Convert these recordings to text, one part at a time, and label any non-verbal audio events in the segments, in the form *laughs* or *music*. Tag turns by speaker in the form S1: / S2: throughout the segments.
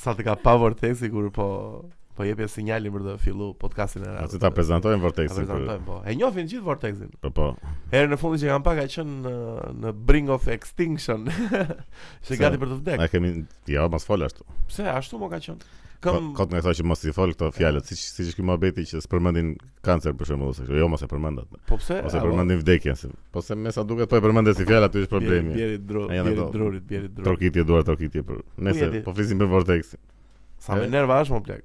S1: Sa të ka pa Vortexi kur po po jepje sinjalin për të fillu podcastin e radhës.
S2: Atë ta prezantojmë
S1: Ta
S2: Vortexin.
S1: prezantojmë, po. E njohin gjithë Vortexin.
S2: Po po.
S1: Herën e fundit që kam pak ka qenë në, në brink of extinction. *laughs* Se
S2: Se-
S1: gati për të vdekë.
S2: Ne kemi ja mos fol ashtu.
S1: Pse ashtu më ka qenë? Kam
S2: Kam kot nga thonë që mos i fol këto fjalët, siç siç ky mohabeti që s'përmendin kancer për shembull ose kështu. Jo, mos e përmendat.
S1: po pse?
S2: Ose përmendin vdekjen. se- Po se me sa duket po e përmendet si fjalë aty është
S1: problemi.
S2: problemi.
S1: Bjerit dru,
S2: A janë
S1: bjerit
S2: ato?
S1: drurit, bjerit drurit.
S2: Trokitje duar trokitje për.
S1: jeti?
S2: Nëse po flisim për Vortexin.
S1: Sa më
S2: E?
S1: nerva është më plak.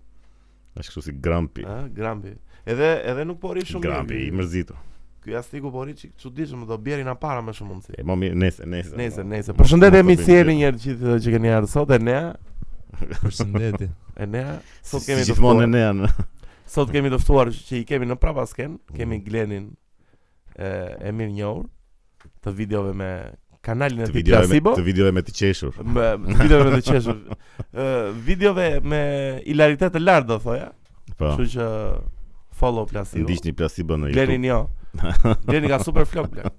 S2: Është kështu si grampi.
S1: Ë, grambi. Edhe edhe nuk po rri shumë.
S2: Grampi i
S1: mirë.
S2: mërzitur.
S1: Ky astiku po rri çik çuditshëm, do bjerin na para më shumë mundsi.
S2: E mo mirë, nesër, nesër.
S1: Nëse, nëse.
S2: Mos-
S1: Përshëndetje
S2: mos
S1: miq, si
S2: bëjmë
S1: jeni njerë gjithë që keni ardhur sot e nea,
S2: *laughs*
S3: Përshëndetje.
S1: e nea sot
S2: Si
S1: kemi të
S2: gjithmonë
S1: ftuar.
S2: e ne Mm. janë.
S1: Sot kemi të ftuar që i kemi në prapasken, kemi Glenin e e mirë njohur të videove me kanalin e
S2: Të
S1: tij
S2: videove me
S1: Plasibo.
S2: të videove me të qeshur.
S1: Me videove me të qeshur.
S2: *laughs*
S1: Ë videove me hilaritet të lartë do thoja. Kështu
S2: Po.
S1: po. që follow Plasibo.
S2: Ndiqni Plasibo në YouTube.
S1: Glenin
S2: *laughs*
S1: jo. Gleni ka super flok blek.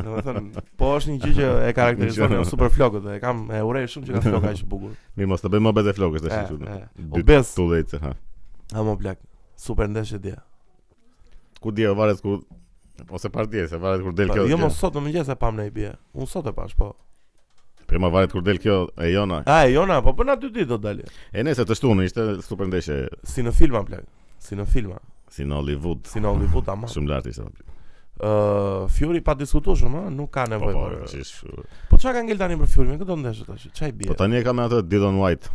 S1: Domethënë, po është një gjë që e karakterizon nga super flokët dhe e kam e urej shumë që ka flok aq bukur.
S2: Mirë, mos të bëjmë më bëtë flokës tash
S1: E,
S2: kështu.
S1: e.
S2: Dy
S1: Obes,
S2: tullece, ha.
S1: amo blek. Super ndeshje dje.
S2: Ku dje o varet kur ose pas dje, se varet kur del
S1: Pa,
S2: kjo.
S1: Jo
S2: gjë.
S1: mos sot në mëngjes e pam në i bje. Unë sot e pash po.
S2: Prima varet kur del kjo e jona.
S1: A e jona, po për na dy ditë do dali.
S2: E nëse të shtunë ishte super ndeshje
S1: Si në filma blek. Si në filma,
S2: si në Hollywood.
S1: si në Hollywood ama. Ë,
S2: Shumë lart ishte.
S1: Fury pa diskutueshëm, ë, nuk ka
S2: Po
S1: nevojë
S2: po,
S1: për.
S2: tash ish-
S1: Po çka ka ngel tani për Fury? Me këto ndeshje tash. Çaj bie.
S2: Po tani e kam me atë Dylan White.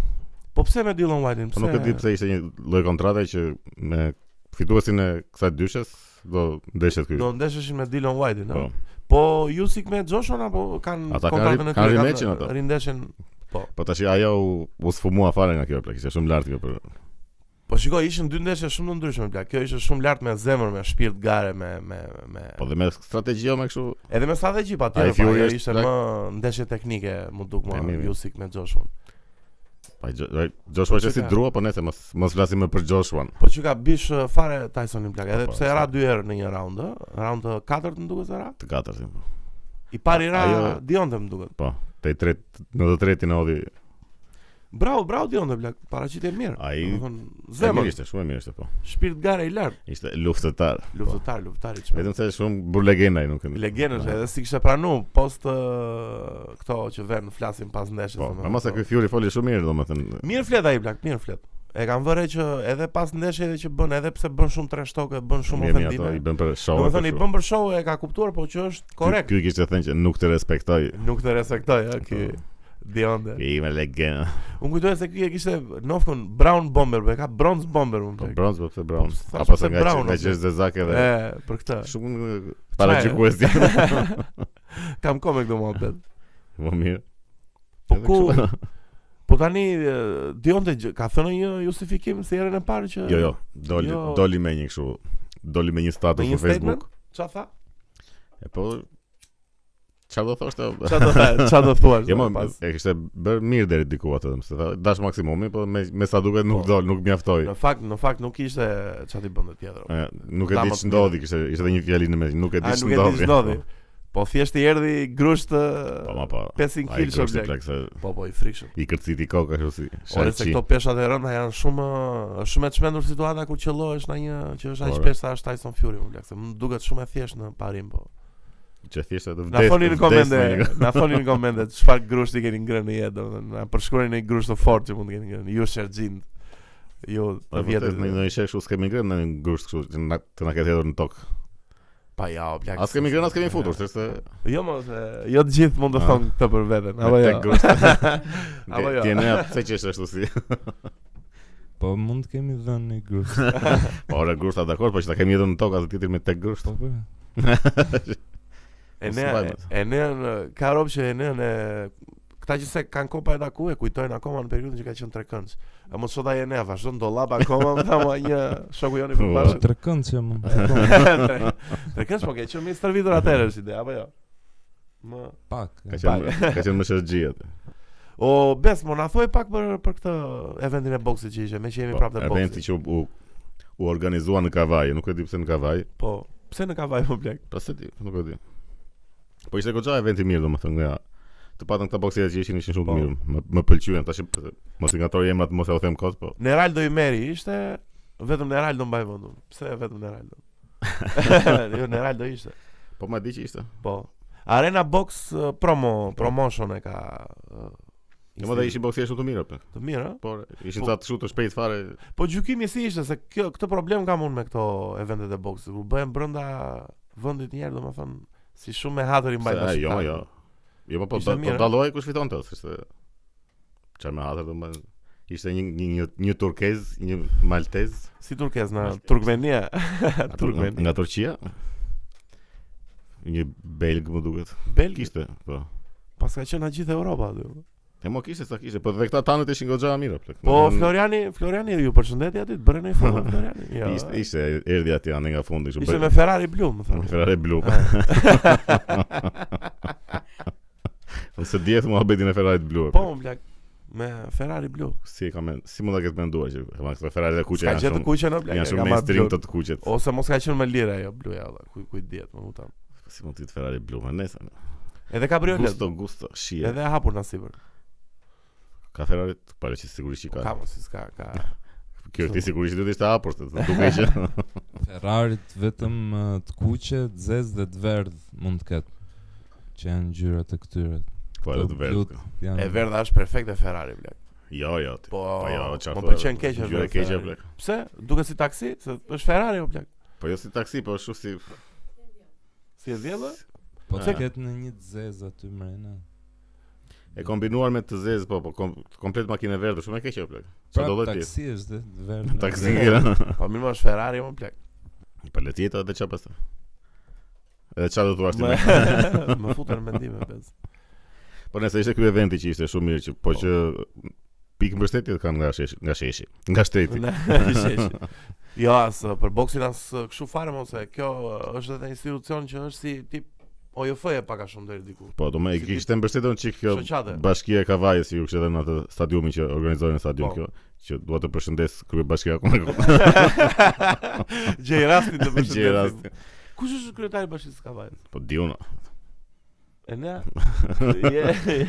S1: Po pse me Dylan White?
S2: Po nuk e di pse ishte një lloj kontrate që me fituesin e kësaj dyshes do ndeshet ky.
S1: Do ndesheshin me Dylan White, ëh.
S2: Po.
S1: Po Jusik me Joshon apo kanë
S2: Ata kanë
S1: kontratën
S2: ri-
S1: e
S2: kanë
S1: tyre,
S2: rematchin ato.
S1: Rindeshin.
S2: Po tash ajo u, u sfumua fare nga kjo plak, ishte shumë lart kjo për.
S1: Po shikoj, ishin dy ndeshje shumë të ndryshme bla. Kjo ishte shumë lart me zemër, me shpirt gare, me me me
S2: Po dhe me strategji o me kështu.
S1: edhe me strategji
S2: Ai
S1: patjetër, po
S2: Fury
S1: ajo
S2: është
S1: ishte
S2: plak-
S1: më ndeshje teknike, më duk
S2: E,
S1: më
S2: mirë, mirë.
S1: Jusik me Joshon.
S2: Pa Jo- ai, Joshua
S1: Po,
S2: që
S1: çka?
S2: si drua, po nëse mos mos flasim më për Joshua.
S1: Po që ka bish uh, fare Tysonin plak, edhe
S2: Po,
S1: pse
S2: po,
S1: ra
S2: sa-
S1: dy herë në një raund, ë? Raund të katërt më duket se ra.
S2: Të katërtin. po.
S1: I pari ra
S2: Ajo-
S1: Dionte më duket.
S2: Te i tret, në të tretin e hodhi.
S1: Bravo, bravo Dionte plak, paraqitje mirë.
S2: Ai-
S1: Domethënë,
S2: E mirë
S1: zemër,
S2: ishte, shumë e mirë ishte po.
S1: shpirt gare i lartë,
S2: Ishte luftëtar.
S1: luftëtar, luftëtar i çmendur.
S2: Vetëm se shumë burlegena ai nuk. Po,
S1: Legendë është edhe si kishte pranu post ë, këto që vën flasin pas ndeshjes.
S2: Po,
S1: domethënë,
S2: me mos e ky Fury foli shumë mirë domethënë.
S1: Mirë flet ai Blak, mirë flet. E kam vënë që edhe pas ndeshjeve që bën, edhe pse bën shumë trashtoke, bën shumë
S2: Mirë, mirë, ato I
S1: ofendime.
S2: bën për show.
S1: Domethënë i bën për show e ka kuptuar, po që është korrekt.
S2: Ky kishte thënë që nuk të respektoj.
S1: Nuk të respektoj, ha, ky Dionde.
S2: Po. Ky me legendë.
S1: Unë kujtoj se ky e kishte Novkun Brown Bomber, po e ka Bronze Bomber unë.
S2: Po
S1: Blak.
S2: bronz po pse bronz.
S1: Po,
S2: Apo
S1: pse
S2: se nga
S1: Brown,
S2: nga
S1: o,
S2: që është zake
S1: E,
S2: dhe
S1: për këtë.
S2: shumë para gjikues. *laughs*
S1: *laughs* Kam kohë me këtë mohabet.
S2: Po mirë.
S1: Po
S2: Edhe
S1: ku
S2: kështu. *laughs*
S1: Po tani e, Dionte gjë- ka thënë një justifikim se herën e parë që
S2: Jo, jo, doli
S1: Jo.
S2: doli me një kështu. Doli me një status
S1: Me një
S2: në Facebook.
S1: Qa
S2: *laughs*
S1: tha?
S2: E po Qa do thoshte?
S1: Qa do tha? Qa do thua?
S2: Jo, më e kishte bërë mirë deri diku atë, më thënë, dash maksimumi, po me, me sa duket nuk
S1: Po.
S2: dol, nuk mjaftoi.
S1: Në fakt, në fakt nuk ishte qa ti bënde tjetër.
S2: E, Nuk e
S1: Dha Pra, më
S2: di
S1: të mirë.
S2: ç'ndodhi, kishte ishte edhe një fjalë në mes, nuk
S1: A
S2: e di
S1: nuk e di
S2: ç'ndodhi.
S1: ç'ndodhi. Po thjesht i erdhi grusht
S2: *laughs* Po ma po.
S1: 500
S2: Ai
S1: kg
S2: kishte
S1: shoblek.
S2: plak se
S1: Po po i frikshëm.
S2: i kërciti koka kështu si.
S1: Ore se
S2: shaqi.
S1: këto peshat e rënda janë shumë është shumë e çmendur situata kur qellohesh në një që është aq
S2: Ore.
S1: peshë sa është Tyson Fury, më blek, se më duket shumë e thjeshtë në parim, po.
S2: që thjesht atë
S1: Na
S2: vdes.
S1: thoni në
S2: vdes
S1: komente,
S2: me një-
S1: na thoni në komente çfarë grusht i keni ngrënë në jetë, domethënë, na përshkruani një grusht të fortë që mund të keni ngrënë. Ju Sergjin. Ju
S2: Po
S1: të
S2: vjetë
S1: vjetët.
S2: në një shek kështu s'kemi ngrënë në një grusht kështu që na të na ketë hedhur në tokë.
S1: Pa ja, o blak.
S2: As kemi ngrënë, as kemi futur, thjesht
S1: Jo mos, e, jo të gjithë mund të
S2: Ah.
S1: thonë këtë për veten, apo jo. *laughs* Apo jo.
S2: Ti ne pse që është ashtu si.
S1: *laughs*
S3: Po mund të kemi dhënë një
S2: *laughs*
S3: grup.
S2: Po ora grushta dakor, po që ta kemi edhe në tokë atë tjetër me tek grusht.
S3: Po po.
S1: E
S2: mos
S1: ne
S2: mbajmë.
S1: e ne në- ka rob që e ne në këta që se kanë kopa e taku e kujtojnë akoma në periudhën që ka qenë trekëndës. A mos sot ai e ne vazhdon dollap akoma, më tha mua një shoku joni për
S3: Po
S1: bashkë.
S3: tërkën që mund. Po,
S2: *laughs*
S1: *laughs* Trekëndës po ke qenë mistër vitur atëherë është ide, apo jo? Më
S3: Pak.
S2: Ka qenë ka qenë më shërgji atë.
S1: O Bes, mo na thuaj pak për për këtë eventin e boksit që ishte, me që jemi
S2: Po,
S1: prapë te
S2: Eventi
S1: boksi.
S2: që u u- u organizua në Kavaj, nuk e di pse në Kavaj.
S1: Po, pse në Kavaj më blek?
S2: Po se di, nuk e di. Po ishte goxha eventi mirë domethënë nga të patën këta boksierë që ishin ishin shumë
S1: Po.
S2: të mirë. Më, më pëlqyen tash mos i ngatroj emrat, mos e u them kot, po
S1: Neraldo i meri ishte vetëm Neraldo mbaj vëndu. Pse vetëm Neraldo? *laughs* jo, Neraldo ishte.
S2: po ma di që ishte.
S1: Po. Arena Box eh, promo promotion e ka. eh,
S2: Jo më dhe ishin boksierë shumë të mirë, po.
S1: të mirë, ëh.
S2: Por ishin
S1: Po.
S2: ca të shutër shpejt fare.
S1: Po gjykimi si ishte se kjo këtë problem kam unë me këto eventet e boksit. U bëhen brenda vendit një herë, domethënë si shumë e hatër i
S2: se,
S1: mbajnë
S2: e, Jo,
S1: bashkëtarët.
S2: jo. Jo, po po
S1: Ishte
S2: da- po
S1: mirë,
S2: dalloj kush fitonte, ishte çfarë më hatër domethënë. Ishte një një një, një turkez, një maltez,
S1: Si turkez në
S2: Maltez.
S1: Turkmenia. *laughs*
S2: nga-
S1: Turkmen.
S2: nga Turqia. Një belg më duket.
S1: Belg ishte.
S2: Kishte, po.
S1: Pas ka qenë në gjithë Europa aty.
S2: E mo kishte sa kishte, po dhe këta tanët ishin goxha mirë plak.
S1: Po
S2: Domethënë,
S1: Floriani, Floriani ju përshëndetje aty, të bërë në formë Floriani.
S2: *laughs*
S1: Jo.
S2: Ishte ishte erdhi aty anë nga fundi kështu.
S1: Ishte
S2: bëri-
S1: me Ferrari blu, më
S2: Në
S1: thënë.
S2: Ferrari
S1: *laughs*
S2: blu. Ose dihet mua betin e Ferrari të blu. e,
S1: Po,
S2: plak.
S1: më plak me Ferrari blu.
S2: si e kam men- si mund ta ketë menduar që e ma këto Ferrari të kuqe
S1: Ka
S2: janë
S1: gjë të
S2: shumë.
S1: kuqe në plak.
S2: Janë
S1: e
S2: shumë
S1: ka marrë
S2: mainstream
S1: blu.
S2: të të kuqet.
S1: Ose mos ka qenë me lira ajo bluja, valla, ku ku i dihet, më lutam.
S2: Si mund të jetë Ferrari blu, më nesa.
S1: Edhe kabriolet.
S2: Gusto, gusto, shije.
S1: Edhe e hapur në sipër.
S2: Ka Ferrari, pare që sigurisht që
S1: Ka
S2: ka.
S1: mos si s'ka, ka.
S2: Kjo ti sigurisht do të ishte hapur, se
S1: *laughs*
S2: duke që
S3: Ferrarit vetëm eh, të kuqe, të zezë dhe të verdh mund të ketë. Që janë ngjyrat e këtyre.
S2: *laughs* po edhe të
S3: Blut.
S2: verdh.
S3: Janë
S1: E verdha është perfekte Ferrari bla.
S2: Jo, jo. ti.
S1: Po,
S2: Po jo, çfarë.
S1: më
S2: thua,
S1: pëlqen keq është.
S2: ngjyra
S1: bla,
S2: keqe
S1: Ferrari.
S2: plak.
S1: Pse? Duket si taksi, se është Ferrari o bla.
S2: Po jo si taksi, po është shumë si
S1: Si e vjedhë?
S3: Po të
S2: Ah.
S3: ketë në një të zezë aty mrena.
S2: e kombinuar me të zezë, po, po kom, komplet makinë e verdhë, shumë e keqe o plak.
S3: Pra
S2: Çfarë do lloj ti?
S3: taksi është dhe të verdh.
S2: *laughs* Taksi.
S1: Po mirë, më është Ferrari o bla.
S2: Po le tjetë edhe çfarë pastaj. Edhe çfarë do thua *laughs* ti? me-
S1: Më më futën në mendime
S2: *laughs*
S1: bez.
S2: Po nëse ishte ky eventi që ishte shumë mirë që po që pikë mbështetje kanë nga sheshi, nga sheshi, nga shteti.
S1: *laughs* Ne, sheshi. Jo, as uh, për boksin as uh, kështu fare mos e kjo uh, është edhe institucion që është si tip OJF-e pak a shumë deri
S2: *laughs*
S1: diku.
S2: Po, do më e
S1: Si ti-
S2: kishte mbështetur çik kjo
S1: Shoqate.
S2: bashkia e Kavajës që ju kishte dhënë atë stadiumin që organizojnë në stadium
S1: Po.
S2: kjo, që dua të përshëndes krye bashkia *laughs* komunale.
S1: Gjej rastin të përshëndesim.
S2: Gjë rast.
S1: Kush është kryetari i Bashkisë së Kavajës?
S2: Po diun.
S1: E
S2: *laughs*
S1: ne? Je-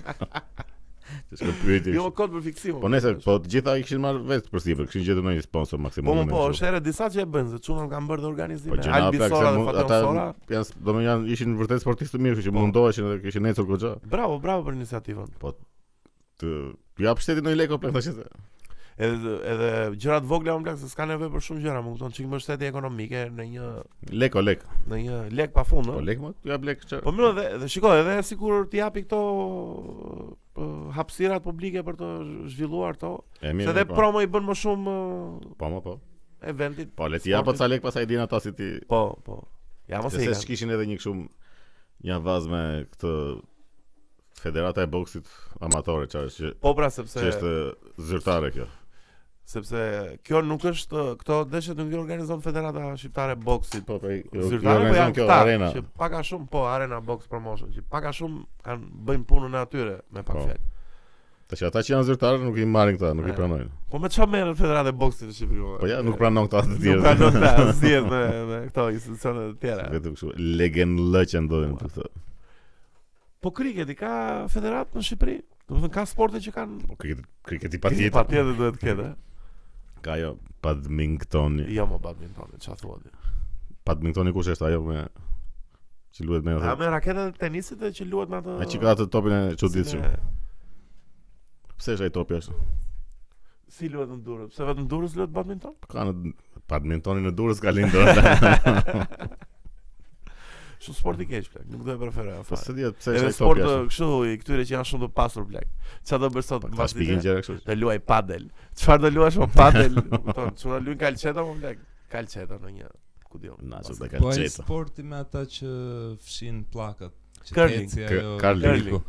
S2: Që s'ka pyetje.
S1: Jo më kod për fiksim.
S2: Po nëse po të gjitha i kishin marrë vetë për sipër, kishin gjetur ndonjë sponsor
S1: Po
S2: maksimum.
S1: më
S2: në
S1: po,
S2: kështu.
S1: është edhe disa që e bëjnë, se çunën kanë bërë dhe organizime.
S2: Po
S1: Po,
S2: gjëna plak se
S1: Albisora dhe
S2: mund-
S1: Faton
S2: ata
S1: Sora.
S2: janë, do më janë ishin vërtet sportistë të mirë, kështu që
S1: Po.
S2: mundoheshin edhe kishin ecur goxha.
S1: Bravo, bravo për iniciativën.
S2: Të jap shtetin ndonjë lekë o plak tash. se-
S1: Edhe edhe gjërat vogla më plak se s'ka nevojë për shumë gjëra, më kupton çik mbështetje ekonomike në një
S2: Lek o lek.
S1: në një lek pafund,
S2: Po
S1: ëh.
S2: lek më, ja lek çfarë.
S1: Po mirë, dhe, dhe shikoj, edhe sikur ti japi këto eh, hapësirat publike për të zhvilluar këto,
S2: E
S1: se
S2: mirë.
S1: edhe
S2: po.
S1: promo i bën më shumë eh,
S2: Po më po.
S1: eventit.
S2: Po le ti apo
S1: Sportit.
S2: ca lek pastaj din ata si ti.
S1: Po, po. Ja mos
S2: Se
S1: e
S2: se
S1: kanë.
S2: s'kishin edhe një kështu një avaz me këtë Federata e boksit amatore çfarë është që,
S1: Po pra sepse
S2: që është zyrtare kjo.
S1: sepse kjo nuk është këto deshje nuk i organizon Federata Shqiptare e Boksit.
S2: Po po.
S1: Zyrtare po janë
S2: kjo
S1: këta,
S2: arena.
S1: që pak a shumë po Arena Box Promotion, që pak a shumë kanë bëjnë punën e atyre me pak
S2: Po.
S1: fjalë.
S2: Tash ata që janë zyrtare nuk i marrin këta, nuk i
S1: E.
S2: pranojnë.
S1: Po me çfarë merret Federata e Boksit në Shqipëri? mo?
S2: Po ja, nuk pranon këta të
S1: Nuk
S2: tjerë. *laughs*
S1: pranon ta asnjë me, me këto institucione të tjera.
S2: Vetëm kështu legen lë që ndodhin për këtë.
S1: Po kriketi ka federat në Shqipëri? Do të thënë ka sporte që kanë
S2: Po kriketi kriketi patjetër.
S1: patjetër duhet të ketë. eh?
S2: Ka ajo badmintoni.
S1: Jo më badmintoni, çfarë thua ti?
S2: Badmintoni kush është ajo me që luhet me
S1: A
S2: atë.
S1: me raketat e tenisit dhe që luhet me atë?
S2: Ai që ka atë topin e çuditshëm.
S1: si ne-
S2: Pse është ai topi ashtu?
S1: Si luhet në Durrës? Pse vetëm Durrës luhet badminton?
S2: Ka në badmintonin në Durrës ka
S1: *laughs*
S2: lindë.
S1: Shumë sport i keq plak, nuk do e preferoj
S2: *laughs* Po
S1: afare.
S2: se dihet pse është
S1: Edhe
S2: ai topi
S1: sport
S2: ashtu.
S1: kështu i këtyre që janë shumë të pasur plak. Çfarë do bësh sot
S2: Po ka
S1: mbas
S2: shpikin
S1: ditës?
S2: gjëra kështu.
S1: Do luaj padel. Çfarë do luash me
S2: *laughs*
S1: padel? Kupton, çuna luajn kalçeta më plak. Kalçeta në një ku diun.
S2: Na çu
S1: Pas-
S2: da ka
S3: Po ai
S2: çeta.
S3: sporti me ata që fshin plakat. Që
S1: Curling.
S3: t'eci
S2: Cur-
S3: ajo-
S2: curling.
S3: Curling.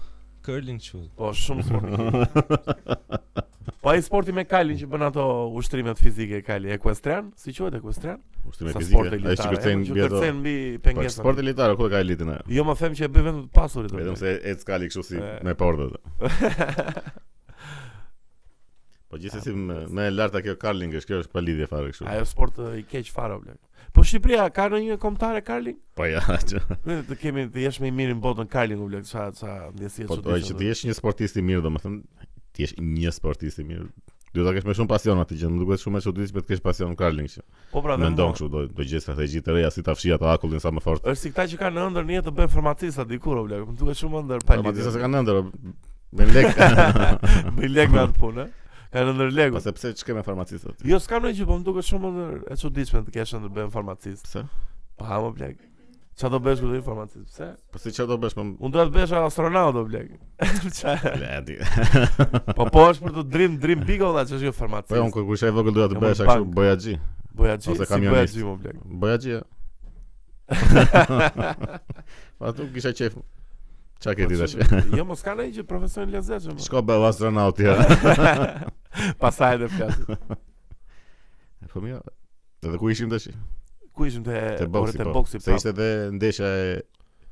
S3: Curling çu.
S1: Po shumë sport. i keq.
S2: *laughs*
S1: po ai sporti me kalin që bën ato ushtrimet fizike kali ekuestrian, si quhet ekuestrian?
S2: Ushtrime
S1: Sa sport
S2: fizike. Ai
S1: elitar.
S2: që kërcen
S1: Që
S2: mbi ato.
S1: kërcen po mbi
S2: Po
S1: pengesën.
S2: sport elitar, ku e ka elitën ajo?
S1: Jo më them që e bëj vetëm të pasurit. o
S2: Vetëm
S1: plak. *laughs*
S2: se ec kali kështu si
S1: E.
S2: me portët. Po gjithsesi më më e larta kjo curling është, kjo është pa lidhje fare kështu.
S1: Ajo sport ë, i keq fare o blek. Po Shqipëria ka ndonjë kombëtare curling?
S2: Po ja. që-
S1: Ne *laughs* të kemi të jesh më i miri në botën curling o blek, sa sa ndjesie
S2: Po do që ti je një sportist i mirë, domethënë ti je një sportist i mirë. Duhet ta kesh më shumë pasion atë gjë, më duket shumë e çuditshme të kesh pasion në curling. që
S1: Po pra, dhe
S2: Mendon
S1: mua.
S2: kështu, do do gjej strategji të reja si ta fshi atë akullin sa më fort.
S1: Është si këta që kanë në ëndër një të bëjnë formatista dikur o blek, më duket shumë ëndër pa
S2: Po disa se
S1: lidhje.
S2: kanë ndër me lek.
S1: *laughs*
S2: *laughs*
S1: Me lek me atë punë. ë. Kanë ëndër legu.
S2: Pastaj Po, pse çka me farmacistët?
S1: Jo, s'kam ndonjë gjë, po më duket shumë ëndër e çuditshme të kesh ëndër bëjmë farmacist.
S2: Pse?
S1: Pa më blek. Qa do bësh kur do i farmacist? Pse?
S2: Po si çfarë do bësh më?
S1: *laughs* Unë do të bësh astronaut o blek. *laughs* Qa-
S2: Le, e di.
S1: Po po është për të dream dream big olla që është jo
S2: Po unë
S1: farmacist.
S2: kur isha i vogël doja të
S1: Jam
S2: bëhesh
S1: unë
S2: kështu
S1: bank.
S2: bojaxhi.
S1: Boja xhi,
S2: ose
S1: si boja
S2: kamionist.
S1: xhi më blek.
S2: Bojaxhi. ja.
S1: *laughs*
S2: Po atë kisha qef. Çka ke ti tash?
S1: Jo, mos ka ndonjë gjë profesion lezetshëm. po.
S2: *laughs*
S1: o.
S2: Shko bëu astronaut ja.
S1: Pasaj edhe flas.
S2: Po mirë. Edhe ku ishim tash?
S1: Ku ishim te
S2: Te boksi.
S1: te
S2: po.
S1: boksi.
S2: Se
S1: prap.
S2: ishte edhe ndeshja e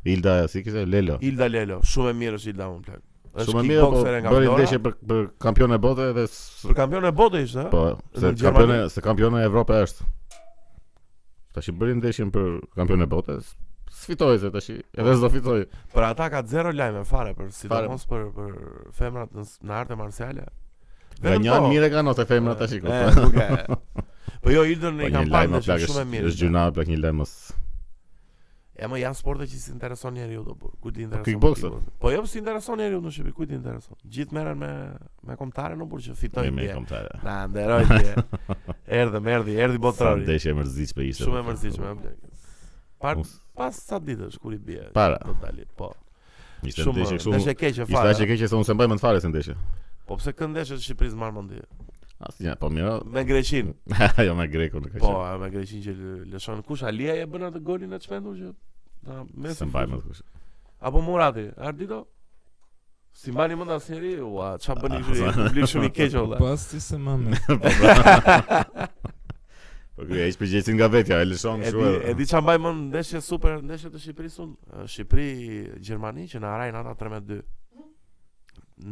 S2: Ilda, si kishte Lelo.
S1: Ilda Lelo, shumë e mirë është Ilda më plak. Është
S2: Shumë e mirë, po
S1: kickboxere nga
S2: bëri
S1: Vlora.
S2: ndeshje për për kampionë e bote dhe s-
S1: Për kampion e botë ishte,
S2: po, se
S1: në Gjermani.
S2: kampionë se kampionë e Evropës është. Tash i bëri ndeshjen për kampionë e botës. Sfitoi se tash, i- edhe s'do fitoi.
S1: a? Për ata ka zero lajme fare për
S2: Fare.
S1: sidomos për për femrat në, s- në arte marciale.
S2: Nga
S1: Vetëm
S2: njëra
S1: to.
S2: mirë kanë ose femra tash i
S1: po. E,
S2: kupton.
S1: nuk
S2: *laughs*
S1: e. Po jo Ildën
S2: Po
S1: e
S2: *laughs* një
S1: kam
S2: lajm
S1: parë
S2: plak
S1: ndeshje
S2: është
S1: shumë e
S2: është
S1: mirë.
S2: gjuna plak një lajm mos.
S1: E më janë sporte që si intereson njeriu do burr. Ku ti intereson?
S2: kickboxer.
S1: kickboxer? Po jo si intereson njeriu në Shqipëri, ku ti intereson? Gjithë merren me me kombëtare në burr që
S2: Një
S1: fitojnë
S2: me
S1: dje.
S2: kombëtare.
S1: Na nderoj
S2: *laughs*
S1: dje. Erdhëm, erdhi, erdhi
S2: Sa
S1: botrori.
S2: ndeshje e mërzitshme ishte.
S1: Shumë e
S2: po,
S1: mërzitshme,
S2: po.
S1: blek. Par
S2: Mos-
S1: pas sa ditësh kur i bie.
S2: Para.
S1: Do dali, po.
S2: Ishte
S1: Shumë
S2: ndeshje
S1: shumë. Është
S2: shumë.
S1: e keqe
S2: Ishte
S1: fare.
S2: aq e keqe se unë se mbaj mend fare se ndeshje.
S1: Po pse këndesh në Shqipëri s'marr mendje?
S2: Asnjë, po mirë. *laughs*
S1: Me Greqin.
S2: jo me grekun nuk ka
S1: Po,
S2: qenë.
S1: a, me Greqin që lë- lëshon kush Alia e bën atë golin e çmendur që na mes.
S2: Se mbaj mend kush.
S1: Apo Murati, Ardito? Si mbani mend asnjëri, ua, ç'a bën
S2: *laughs* Ah,
S1: kështu?
S2: sa-
S1: Publik shumë i keq olla.
S3: Pas ti se më
S2: *laughs*
S3: me
S2: Po ky ai shpërgjecin nga vetja, e lëshon
S1: E
S2: kështu.
S1: di,
S2: edhe.
S1: e di ç'a mbaj mend ndeshje super, ndeshje të Shqipërisë unë, eh, Shqipëri Gjermani që na harajnë ata 3-2.